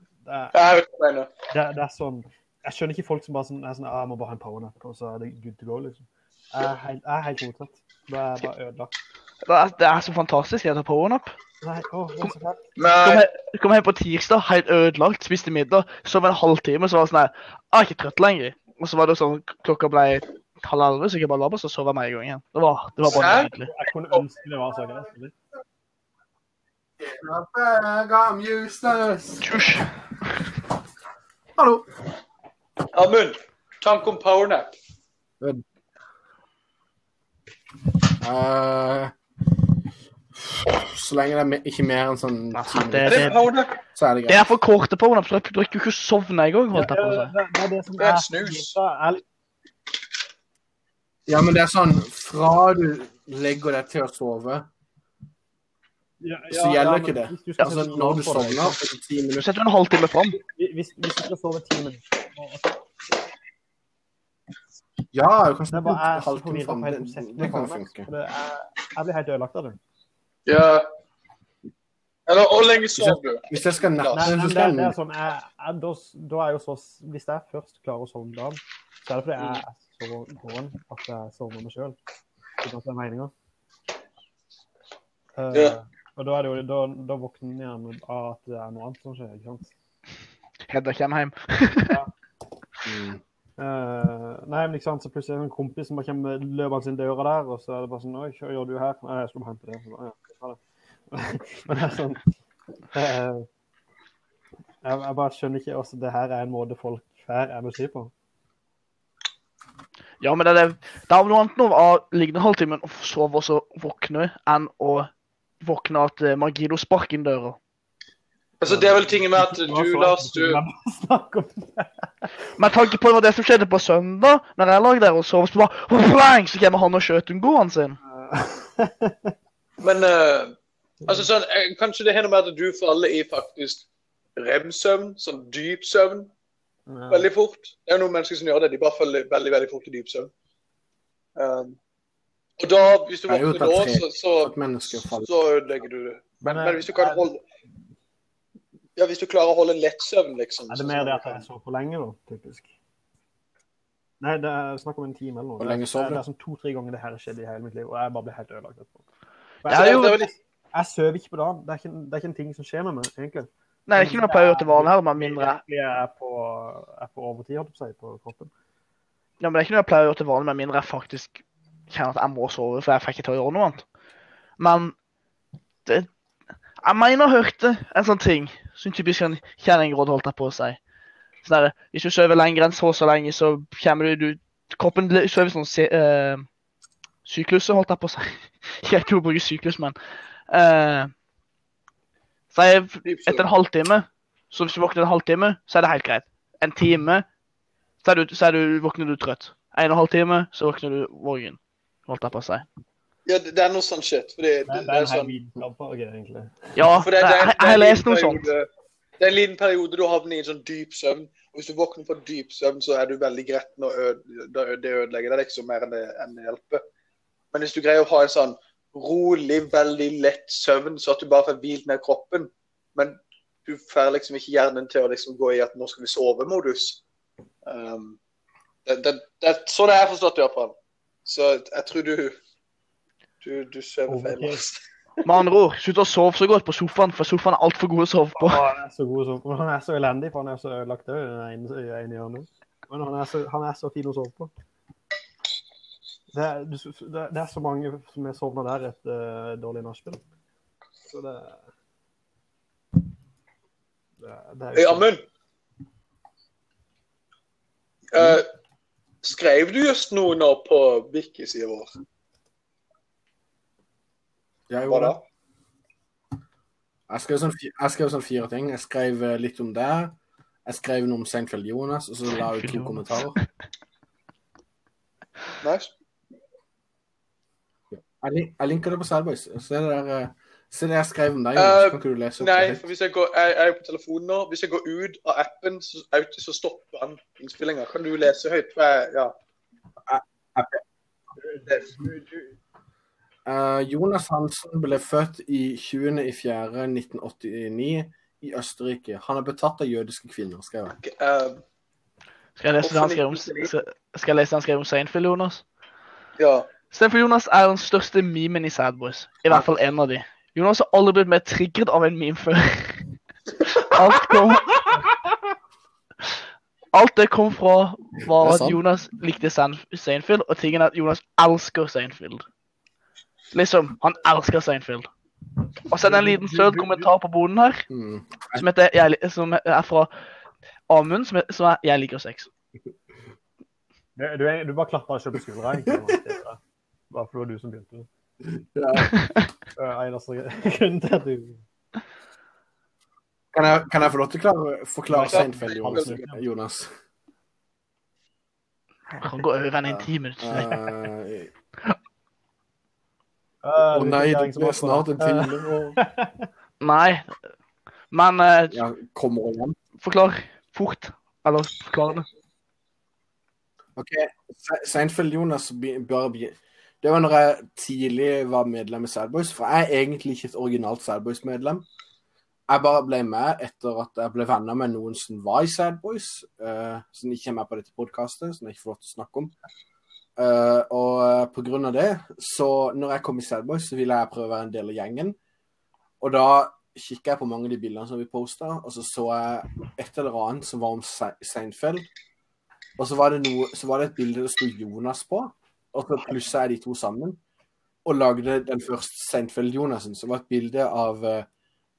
B: Det er,
A: Jeg vet ikke hva jeg mener.
B: det, det er sånn Jeg skjønner ikke folk som bare sånn, er sånn ah, 'Jeg må bare ha en powernap, og så er det good to go', liksom. Jeg er helt, jeg er helt motsatt. Da er jeg bare ødelagt.
C: Det er, det er så fantastisk. Jeg tar powernap.
B: Nei, åh, det er så fælt.
C: Kom,
A: Nei,
C: he- kom hjem på tirsdag, helt ødelagt, spiste middag, sov en halvtime, så var det sånn her Jeg er ikke trøtt lenger. Og så var det sånn klokka ble halv elleve, så gikk jeg bare la meg, så sov jeg med en gang igjen. Det var, det var bare
A: Hæ?
C: nydelig.
B: Jeg kunne ønske det var så greit. eller?
D: I'm useless.
C: Tjusj.
D: Hallo.
A: Amund, tanke om powernap.
D: Eh, så lenge det er me- ikke mer enn sånn
C: Nei,
D: ti
A: Er
D: minutter,
A: det powernap?
D: så er det
C: Det
D: greit.
C: er for korte powernap, så jeg rekker jo ikke å sovne i gang. holdt jeg på å si.
B: det, det er det som
A: Det er
B: er
A: snus.
B: Jeg-
D: Ja, men det er sånn fra du legger deg til å sove
B: Ja,
D: så gjelder ikke
B: men
D: det.
B: hvis du skal
D: Altså,
B: sette
D: når du
B: noe for deg,
D: sovner etter ti
C: Du
D: minutter
C: setter jo en halvtime fram.
B: Hvis, hvis du skal sove ti minutter og-
D: Ja, du kan
B: Det er
D: snakke
B: bare jeg
D: en
B: er så
D: halvtime
B: forvirret
D: fram.
B: på hele
D: Det,
B: konseptet
D: det
B: med
D: kan jo
B: Parallax,
D: funke.
B: for det er- Jeg blir helt ødelagt av det.
A: Ja. Eller hvor lenge sov du?
D: Hvis jeg skal nappe,
B: Nei,
D: så
B: men det,
D: skal
B: det er
D: jeg
B: sånn, jeg, jeg, da, da er jo så, Hvis jeg først klarer å sovne dagen, så er det fordi jeg er så gåen at jeg sovner meg sjøl. Uten at det er meninga. Eh,
A: Ja.
B: Og da, er det jo, da, da våkner jeg gjerne av at det er noe annet som skjer. ikke sant?
C: Hedda kommer hjem.
D: Mm.
B: Eh, nei, men ikke sant, så Plutselig er det en kompis som bare kommer løpende inn døra der, og så er det bare sånn Oi, hva gjør du her? Nei, jeg skulle bare hente det. Så, bare, ja, ha det. men det er sånn eh, jeg, jeg bare skjønner ikke også, Det her er en måte folk her er musik på.
C: Ja, men det er, det er noe annet nå å ligge en halvtime og sove og så våkne, enn å våkne av at eh, Margido sparker inn døra.
A: Altså, det er vel tingen med at du, Lars, du
B: Snakk om det.
C: Men tanke på det var det som skjedde på søndag, når jeg lå der og sov, så bare bang, så kommer han og skjøt ungoen sin.
B: Eh,
A: Men eh, altså sånn, eh, kanskje det hender med at du faller i faktisk rem-søvn, sånn dyp søvn, veldig fort. Det er jo noen mennesker som gjør det. De bare faller veldig, veldig fort i dyp søvn. Um, og da, hvis du
D: Det er jo
A: våkner nå,
D: tatt
A: så,
D: tre. At mennesker
A: så,
D: faller.
A: så ødelegger du det.
B: Men,
A: Men hvis du kan holde Ja, hvis du klarer å holde en lett søvn, liksom.
B: Er det mer det at jeg sov for lenge, da? Typisk. Nei, det er snakk om en time eller noe.
D: Hvor lenge sov
B: Det er,
D: du?
B: det er sånn to-tre ganger det her skjedde i hele mitt liv, og jeg bare ble helt ødelagt etterpå. For
C: Det er
B: jeg,
C: jo-
A: det er vel litt-
B: jeg sover ikke på dagen. Det er ikke, en- det er ikke en ting som skjer med meg, egentlig.
C: Nei, det er ikke noe jeg pleier å gjøre til vanlig her, med mindre
B: Jeg er på, jeg er på overtid, holdt jeg på å si, på kroppen.
C: Ja, men det er ikke noe jeg pleier å gjøre til vanlig, med mindre jeg faktisk kjenner at jeg må sove, for jeg fikk ikke til å gjøre noe annet. Men det, jeg mener jeg hørte en sånn ting som typisk en kjerringråd holdt jeg på å si. Sånn der, hvis du sover lenger enn så og så lenge, så kommer du, du Kroppen le- sover sånn se, eh, sykluser, holdt jeg på å si. Jeg tror jeg bruker syklus, men eh, Så jeg
A: dyp søvn.
C: etter en halvtime. Så hvis du våkner en halvtime, så er det helt greit. En time, så, er du, så er du, våkner du trøtt. En og en halv time, så våkner du vågen. Holdt jeg på å si.
A: Ja, det, det er noe sånn shit. Fordi det, det
B: Det,
A: er
B: en hel
A: sånn
B: vitenskap, egentlig.
C: Ja,
A: For
C: det,
A: det, det, er- det er
C: jeg, jeg har
A: en
C: lest
A: liten
C: noe sånt.
A: periode- Det er en liten periode du havner i en sånn dyp søvn. Og hvis du våkner fra dyp søvn, så er du veldig gretten, og øde, da ø- det ødelegger deg liksom mer enn det, enn det hjelper. Men hvis du greier å ha en sånn rolig, veldig lett søvn, så at du bare får hvilt ned kroppen, men du får liksom ikke hjernen til å liksom gå i at 'nå skal vi sove'-modus. Um, det, det, det er sånn jeg har forstått det, i hvert fall. Så jeg tror du du, du sover feil.
B: Overkill.
A: Lars.
C: Med andre ord, slutt å sove så godt på sofaen, for sofaen er altfor god å sove på.
B: Å, han er så god som men Han er så elendig, for han er så ødelagt òg, i den ene- i ene hjørnet. Men han er, så, han er så fin å sove på. Det er, du- det er- det er så mange som er sovna der etter eh, dårlig nachspiel. Så det det, er- det er
A: Øy, Amund. Eh, skrev du just noe nå på Vicky-sida vår?
D: Jeg
A: Hva
D: gjorde
A: da?
D: det. Jeg skrev, sånn, fi- jeg skrev sånn fire ting. Jeg skrev eh, litt om det. Jeg skrev noe om Seinfeld Jonas, og så la jeg ut to
C: Seinfeld Jonas.
D: kommentarer.
A: Nice.
D: Jeg, lin- jeg linker det på Sadboys. Se det der eh, Se det jeg skrev om deg,
A: Eh,
D: Jonas. Kan ikke du lese opp det?
A: Nei,
D: helt?
A: for hvis jeg, går, jeg, jeg er på telefonen nå. Hvis jeg går ut av appen, så, out, så stopper han innspillinga. Kan du lese høyt? For jeg, ja. Det- du- du-
D: Eh, Jonas Hansen ble født i 20.04.1989 i Østerrike. Han er betatt av jødiske kvinner, skrev jeg.
A: eh,
C: Skal jeg lese det han skrev om, skal jeg lese det han skrev om Seinfeld, Jonas?
A: ja.
C: Seinfeld Jonas er den største memen i Sad Boys. I hvert fall en av de. Jonas har aldri blitt mer triggert av en meme før. Alt kom Alt det kom fra,
D: Det er
C: var at
D: sant.
C: Jonas likte Sein- Seinfeld, og tingen er at Jonas elsker Seinfeld. Liksom, han elsker Seinfeld. Og så er det en liten søt kommentar på boden her,
D: Mm.
C: som, heter, jeg, li- som er fra Amund, som, er- som er 'Jeg liker sex'.
B: Du, du, er- du bare klappa deg selv på skuldra, egentlig. Bare for det var du som begynte. Det er eneste grunnen til at du
D: Kan, jeg, kan jeg få lov til å klare, forklare
A: Ja.
D: Seinfeld Jonas? Jonas?
C: Han går over en intim minutt.
D: Eh,
B: Å
D: Å nei, det blir snart en time. og-
C: Nei. Men eh,
D: Ja, kommer igjen.
C: forklar fort. Eller forklar det.
D: OK. Se- Seinfeld Jonas be- bør begynne. Det var når jeg tidlig var medlem i Sadboys, for jeg er egentlig ikke et originalt Sadboys-medlem. Jeg bare ble med etter at jeg ble venner med noen som var i Sadboys, uh, som ikke er med på dette podkastet, som jeg ikke får lov til å snakke om. Eh, og eh, på grunn av det, så når jeg kom i Sadboys, så ville jeg prøve å være en del av gjengen. Og da kikket jeg på mange av de bildene som vi posta, og så så jeg et eller annet som var om Se- Seinfeld. Og så var det, noe, så var det et bilde det sto Jonas på, og så plussa jeg de to sammen. Og lagde den første Seinfeld-Jonasen, som var et bilde av eh,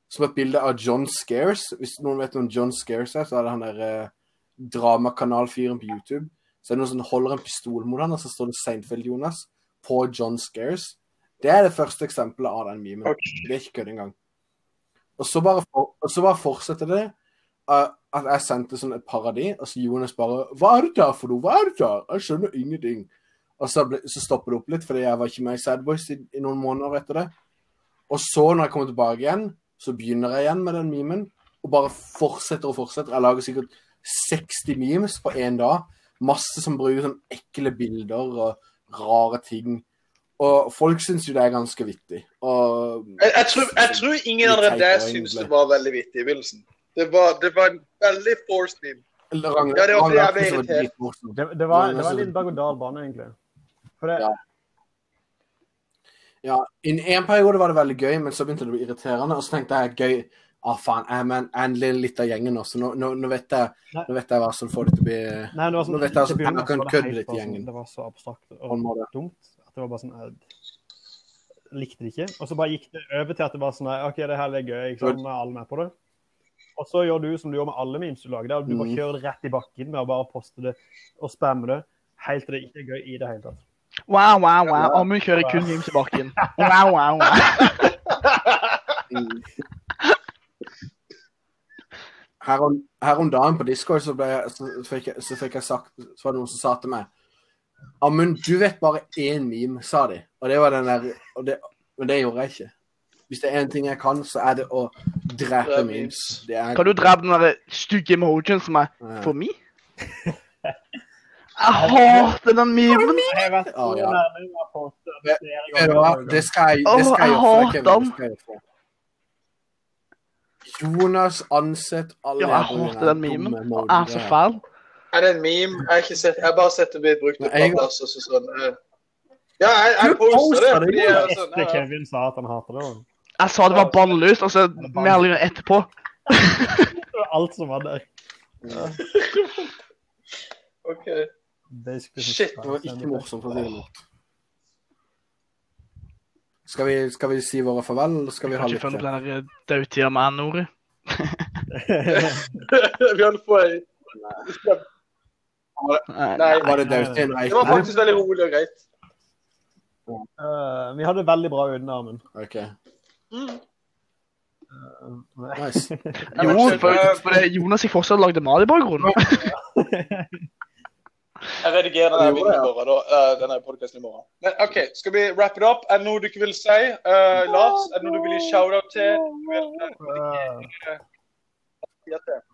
D: som var et bilde av John Scares. Hvis noen vet hvem John Scares er, så er det han der eh, dramakanalfyren på YouTube. Så er det noen som holder en pistol mot han, og så står det Seinfeld-Jonas på John Scares. Det er det første eksempelet av den memen.
A: Ok.
D: Det er ikke kødd engang. Og så bare, for, og så bare fortsetter det eh, at jeg sendte sånn et par av de, og så Jonas bare 'Hva er det der for noe? Hva er det der? Jeg skjønner ingenting.' Og så, ble, så stoppet det opp litt, fordi jeg var ikke med i Sad Boys i, i noen måneder etter det. Og så, når jeg kommer tilbake igjen, så begynner jeg igjen med den memen, og bare fortsetter og fortsetter. Jeg lager sikkert 60 memes på én dag. Masse som bruker sånn ekle bilder og rare ting. Og folk syns jo det er ganske vittig. Og
A: Jeg, jeg, tror, jeg tror ingen andre enn deg syntes det var veldig vittig i begynnelsen. Det var, det var en veldig forced meme.
D: Eller Ragnar-
A: Ja, det var fordi jeg
D: Ragnar
A: ble
D: synes det var
A: irritert.
D: dritmorsomt.
B: Det, det, var, det
D: Men
B: var en
D: altså-
B: liten berg-og-dal-bane, egentlig. For det,
D: Ja. Ja, I en periode var det veldig gøy, men så begynte det å bli irriterende. Og så tenkte jeg gøy Å, faen, jeg er med en- jeg er en liten- litt av gjengen nå, så nå, nå, nå, vet, jeg,
B: Nei.
D: nå vet jeg hva som får det til å bli
B: Nei, det var sånn,
D: Nå vet jeg altså
B: til å begynne
D: at jeg
B: med
D: kan
B: så var det
D: kødde
B: helt
D: litt i
B: bare sånn-
D: gjengen. Sånn
B: Det var så abstrakt
D: på en
B: og
D: måte.
B: dumt at det var bare sånn Jeg likte det ikke. Og så bare gikk det over til at det var sånn nei, OK, det her er gøy. Ikke sant? Nå er alle med på det. Og så gjør du som du gjør med alle memes du lager. Der. Du bare
D: Mhm.
B: kjører det rett i bakken med å bare poste det og spamme det helt til det ikke er gøy i det hele tatt.
C: Wow, wow, wow. Amund kjører kun memes i bakken. Wow, wow, wow.
D: Mm. Her om, her om dagen på Discord så, ble jeg, så, fikk jeg, så fikk jeg sagt Så var det noen som sa til meg Amund, du vet bare én meme, sa de. Og det var den der og det, Men det gjorde jeg ikke. Hvis det er én ting jeg kan, så er det å drepe
A: Drepe
D: memes.
A: memes.
D: Det er
C: Kan du drepe den der stygge emojien som er
D: eh,
C: for meg? Jeg hater den memen.
B: Jeg har vært så
D: Å, Ah, ja.
B: nærme med å poste det
D: Det-
B: flere
D: Vet du hva?
B: ganger.
D: Det skal jeg, det
C: Åh,
D: skal jeg
C: jeg
D: gjøre.
C: hater
D: Kevin. Det skal jeg gjøre. Jonas ansett alle
C: Ja, jeg hater den memen. Og er så fæl.
A: Er det en meme? Jeg har ikke sett, jeg har bare sett det bli brukt
D: Nei,
A: et
D: jeg-
A: par plasser. Så sånn, eh. ja, jeg, jeg
D: Du
A: poster det.
D: poster det,
A: Fordi jeg, er sånn,
B: Etter
A: ja, ja.
B: Kevin sa at han hater det. og
C: Jeg sa det var bannlyst, og så melder hun etterpå.
B: Alt som var der.
A: Ok.
B: Basically,
A: Shit,
D: Det var ikke morsomt. for å si det mildt. Skal vi, skal vi si våre farvel, eller skal vi ha
C: Kanskje
D: litt
C: funnet
D: til?
C: på det der eh, dautida man-ordet.
A: Vi holdt på i
C: Nei.
A: Nei,
D: Var det
A: det
D: Dautin og
A: var
D: Eiken?
A: faktisk veldig rolig og greit.
B: Eh, vi hadde det veldig bra uten armen.
D: OK,
A: Mm.
B: Nei.
D: nice.
C: Jo, for, for det, Jonas gikk fortsatt og lagde mat i bakgrunnen.
A: Jeg redigerer
D: Ja,
A: denne
D: det gjorde
A: videoen i morgen. Da, eh, denne podcasten i morgen. Men OK, skal vi wrap it up? Er det noe du ikke vil si? Eh, Lars, er det noe du vil gi shout-out til? Du vil,
B: Eh,
A: eh, si til?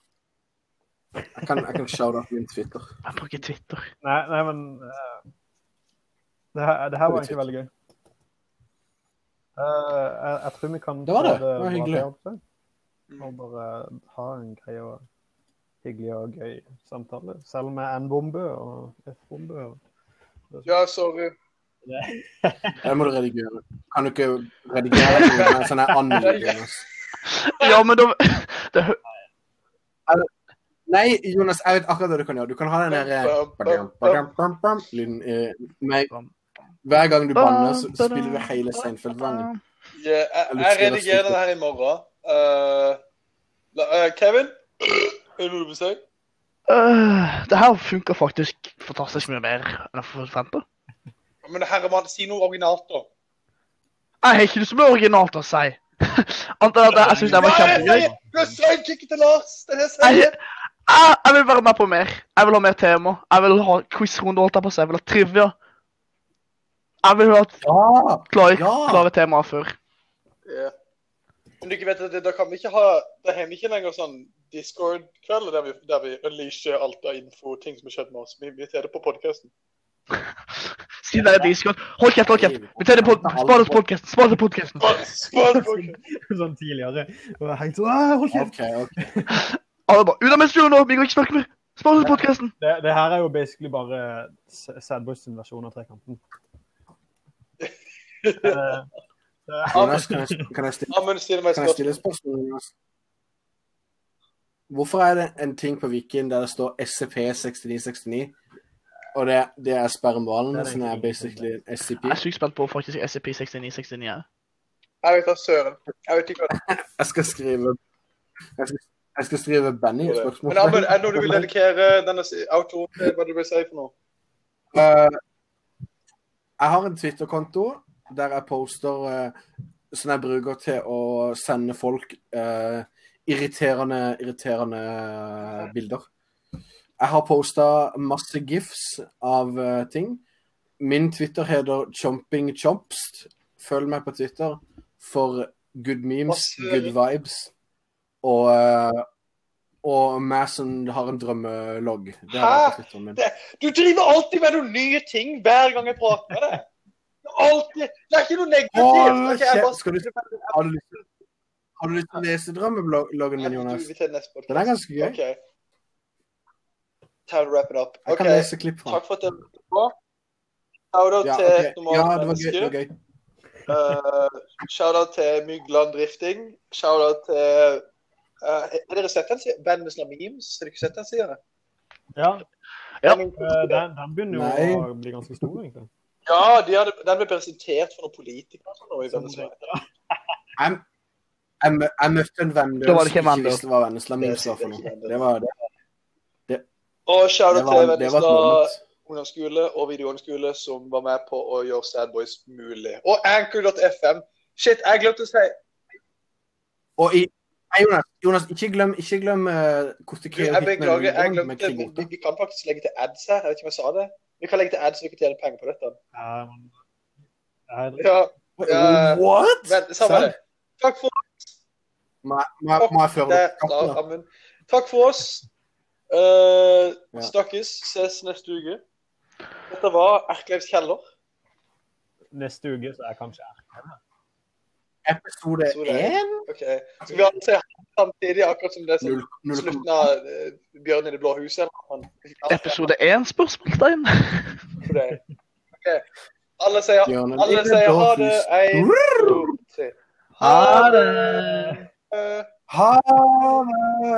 D: Jeg kan, jeg kan shout-out min Twitter.
C: Jeg bruker Twitter.
B: nei, nei, men eh, det, her, det her var egentlig veldig gøy. Eh, jeg, jeg tror vi kan
D: Det var
B: få
D: det. Det var
B: bra
D: hyggelig.
B: til, jeg håper. Og bare ha en grei og hyggelig og gøy samtale. Selv med N-bombe og F-bombe. og-
A: Ja, sorry.
D: Det må du redigere. Kan du ikke redigere noe med sånn her anmelding, Jonas?
C: Ja, men da det, hø-
D: Nei, Jonas, jeg vet akkurat hva du kan gjøre. Du kan ha den der eh, lyden eh, med Hver gang du banner, så spiller du hele Steinfeld-sangen.
A: Ja, jeg,
D: Eller
A: jeg
D: skriver
A: redigerer
D: stikket.
A: den her i morgen. Eh, la, eh, Kevin? Er det noe du vil si?
C: Øh, Det her funker faktisk fantastisk mye bedre enn jeg forventa.
A: Men herremann, si noe originalt, da.
C: Jeg har ikke lyst til å bli originalt å si. Annet enn at jeg, jeg syns det var
A: Hva er det
C: kjempegøy.
A: jeg sier? Du er sidekicket til Lars! Det er det jeg
C: Jeg,
A: sier!
C: jeg, jeg vil være med på mer. Jeg vil ha mer tema. Jeg vil ha quizrunde, holdt jeg på å si. Jeg vil ha trivia. Jeg vil høre at
D: Ja!
C: klare,
D: Ja.
C: klare temaer før.
A: Ja. Men dere vet at det, da kan vi ikke ha Da har vi ikke lenger sånn Discord-kveld der vi, der vi unleasher alt av info, ting som har skjedd med oss. Vi inviterer det på podkasten.
C: Siden det er Discord. Hold kjeft, hold kjeft. Vi tar det på, spar det til podcasten, spar det til podcasten.
B: sånn tidligere. Og jeg hengte sånn «Åh, Hold kjeft!
D: OK, OK.
C: Alle bare, ut av min studio nå, vi kan ikke snakke mer. Spar det til podcasten.
B: Det, det her er jo basically bare Sadboys versjon av Trekanten. Eh, det-
D: Jonas, kan jeg, kan jeg stille
A: Amund stiller meg et
D: Kan jeg stille
A: spørsmål.
D: et spørsmål? Jonas? Hvorfor er det en ting på Viken der det står SCP-6969, og det, det er spermhvalen, som er basically en SCP?
C: Jeg er sykt spent på faktisk SCP-6969 her.
A: Jeg vet da søren. Jeg vet ikke hva det
D: Jeg skal skrive Jeg skal, jeg skal skrive Benny et
A: er.
D: spørsmål.
A: Men Amund, er det noe du vil dedikere denne si- outroen til? Hva er det du vil si for noe?
D: Eh, jeg har en Twitter-konto der jeg poster eh, som jeg bruker til å sende folk eh, irriterende, irriterende bilder. Jeg har posta masse gifs av eh, ting. Min Twitter heter chompingchomst. Følg meg på Twitter for good memes,
A: Masse-
D: good vibes og, eh, og meg som har en drømmelogg. Det har jeg på Twitteren min.
A: Du driver alltid med noen nye ting hver gang jeg prater med deg. Det er Alltid. Det er ikke noe negativt.
D: Hold
A: Ok, jeg bare-
D: kjeft! Skal du Har du lyst til, har du lyst til å lese drømmebloggen min, Jonas?
A: Vi tar neste podcast.
D: Den er ganske gøy.
A: Ok. Time to wrap it up.
D: Jeg
A: Ok,
D: kan lese klipp fra den.
A: takk for at dere hørte på. Shout-out
D: Ja,
A: til
D: ok.
A: normale
D: ja, det var gøy.
A: mennesker.
D: Det var gøy.
A: Eh, Shout-out til Mygland Drifting. Shout-out til eh, Har dere sett den siden? Bandet som har Memes? Har dere sett den siden?
B: ja,
C: Ja.
A: Den,
B: eh, den, den begynner jo
D: Nei.
B: å bli ganske stor, egentlig.
A: ja de hadde, den ble presentert for noen politikere. og Sånn, nå i Venezuela.
D: Jeg, jeg, mø- jeg møtte en venn
C: Da var det ikke
D: som
C: venn,
D: ikke
C: da.
D: visste hva Vennesla Memes var for noe. Det var det.
A: Og
D: Det
A: shout-out
D: var,
A: til
D: det var et
A: Vennesla
D: moment.
A: ungdomsskole og videregående skole som var med på å gjøre Sad Boys mulig. Og Anchor.fm. Shit, jeg glemte å si
D: Og i Nei, Jonas, Jonas, ikke glem, ikke glem uh,
A: Du,
D: Kortikeo
A: jeg beklager, jeg
D: med
A: glemte
D: Kring
A: vi, vi kan faktisk legge til ads her. Jeg vet ikke om jeg sa det. Vi kan legge til ads så vi kan tjene penger på dette.
B: Eh, jeg-
A: Ja, Ja.
D: What?!
A: men samme
D: Sant?
A: det. Takk for
D: Må jeg- må jeg- må jeg føre
A: det.
D: opp
A: Da,
D: katten? da?
A: Amund. Takk for oss. Eh,
D: Ja.
A: Snakkes. Ses neste uke. Dette var Erklevs kjeller.
B: neste uke så er kanskje jeg
D: Episode
A: Episode
D: 1?
A: Ok. Skal vi alle si ha det samtidig, akkurat som det er sånn
D: Null- null-
A: slutten av eh, Bjørn i det blå huset? eller noe sånt?
C: Episode 1, spørsmålstegn.
A: For det. Ok. Alle sier,
D: Bjørnen i
A: alle
D: det
A: sier
D: blå
A: ha det.
D: hus.
A: En, to, tre.
C: Ha det!
A: Eh,
D: Ha det!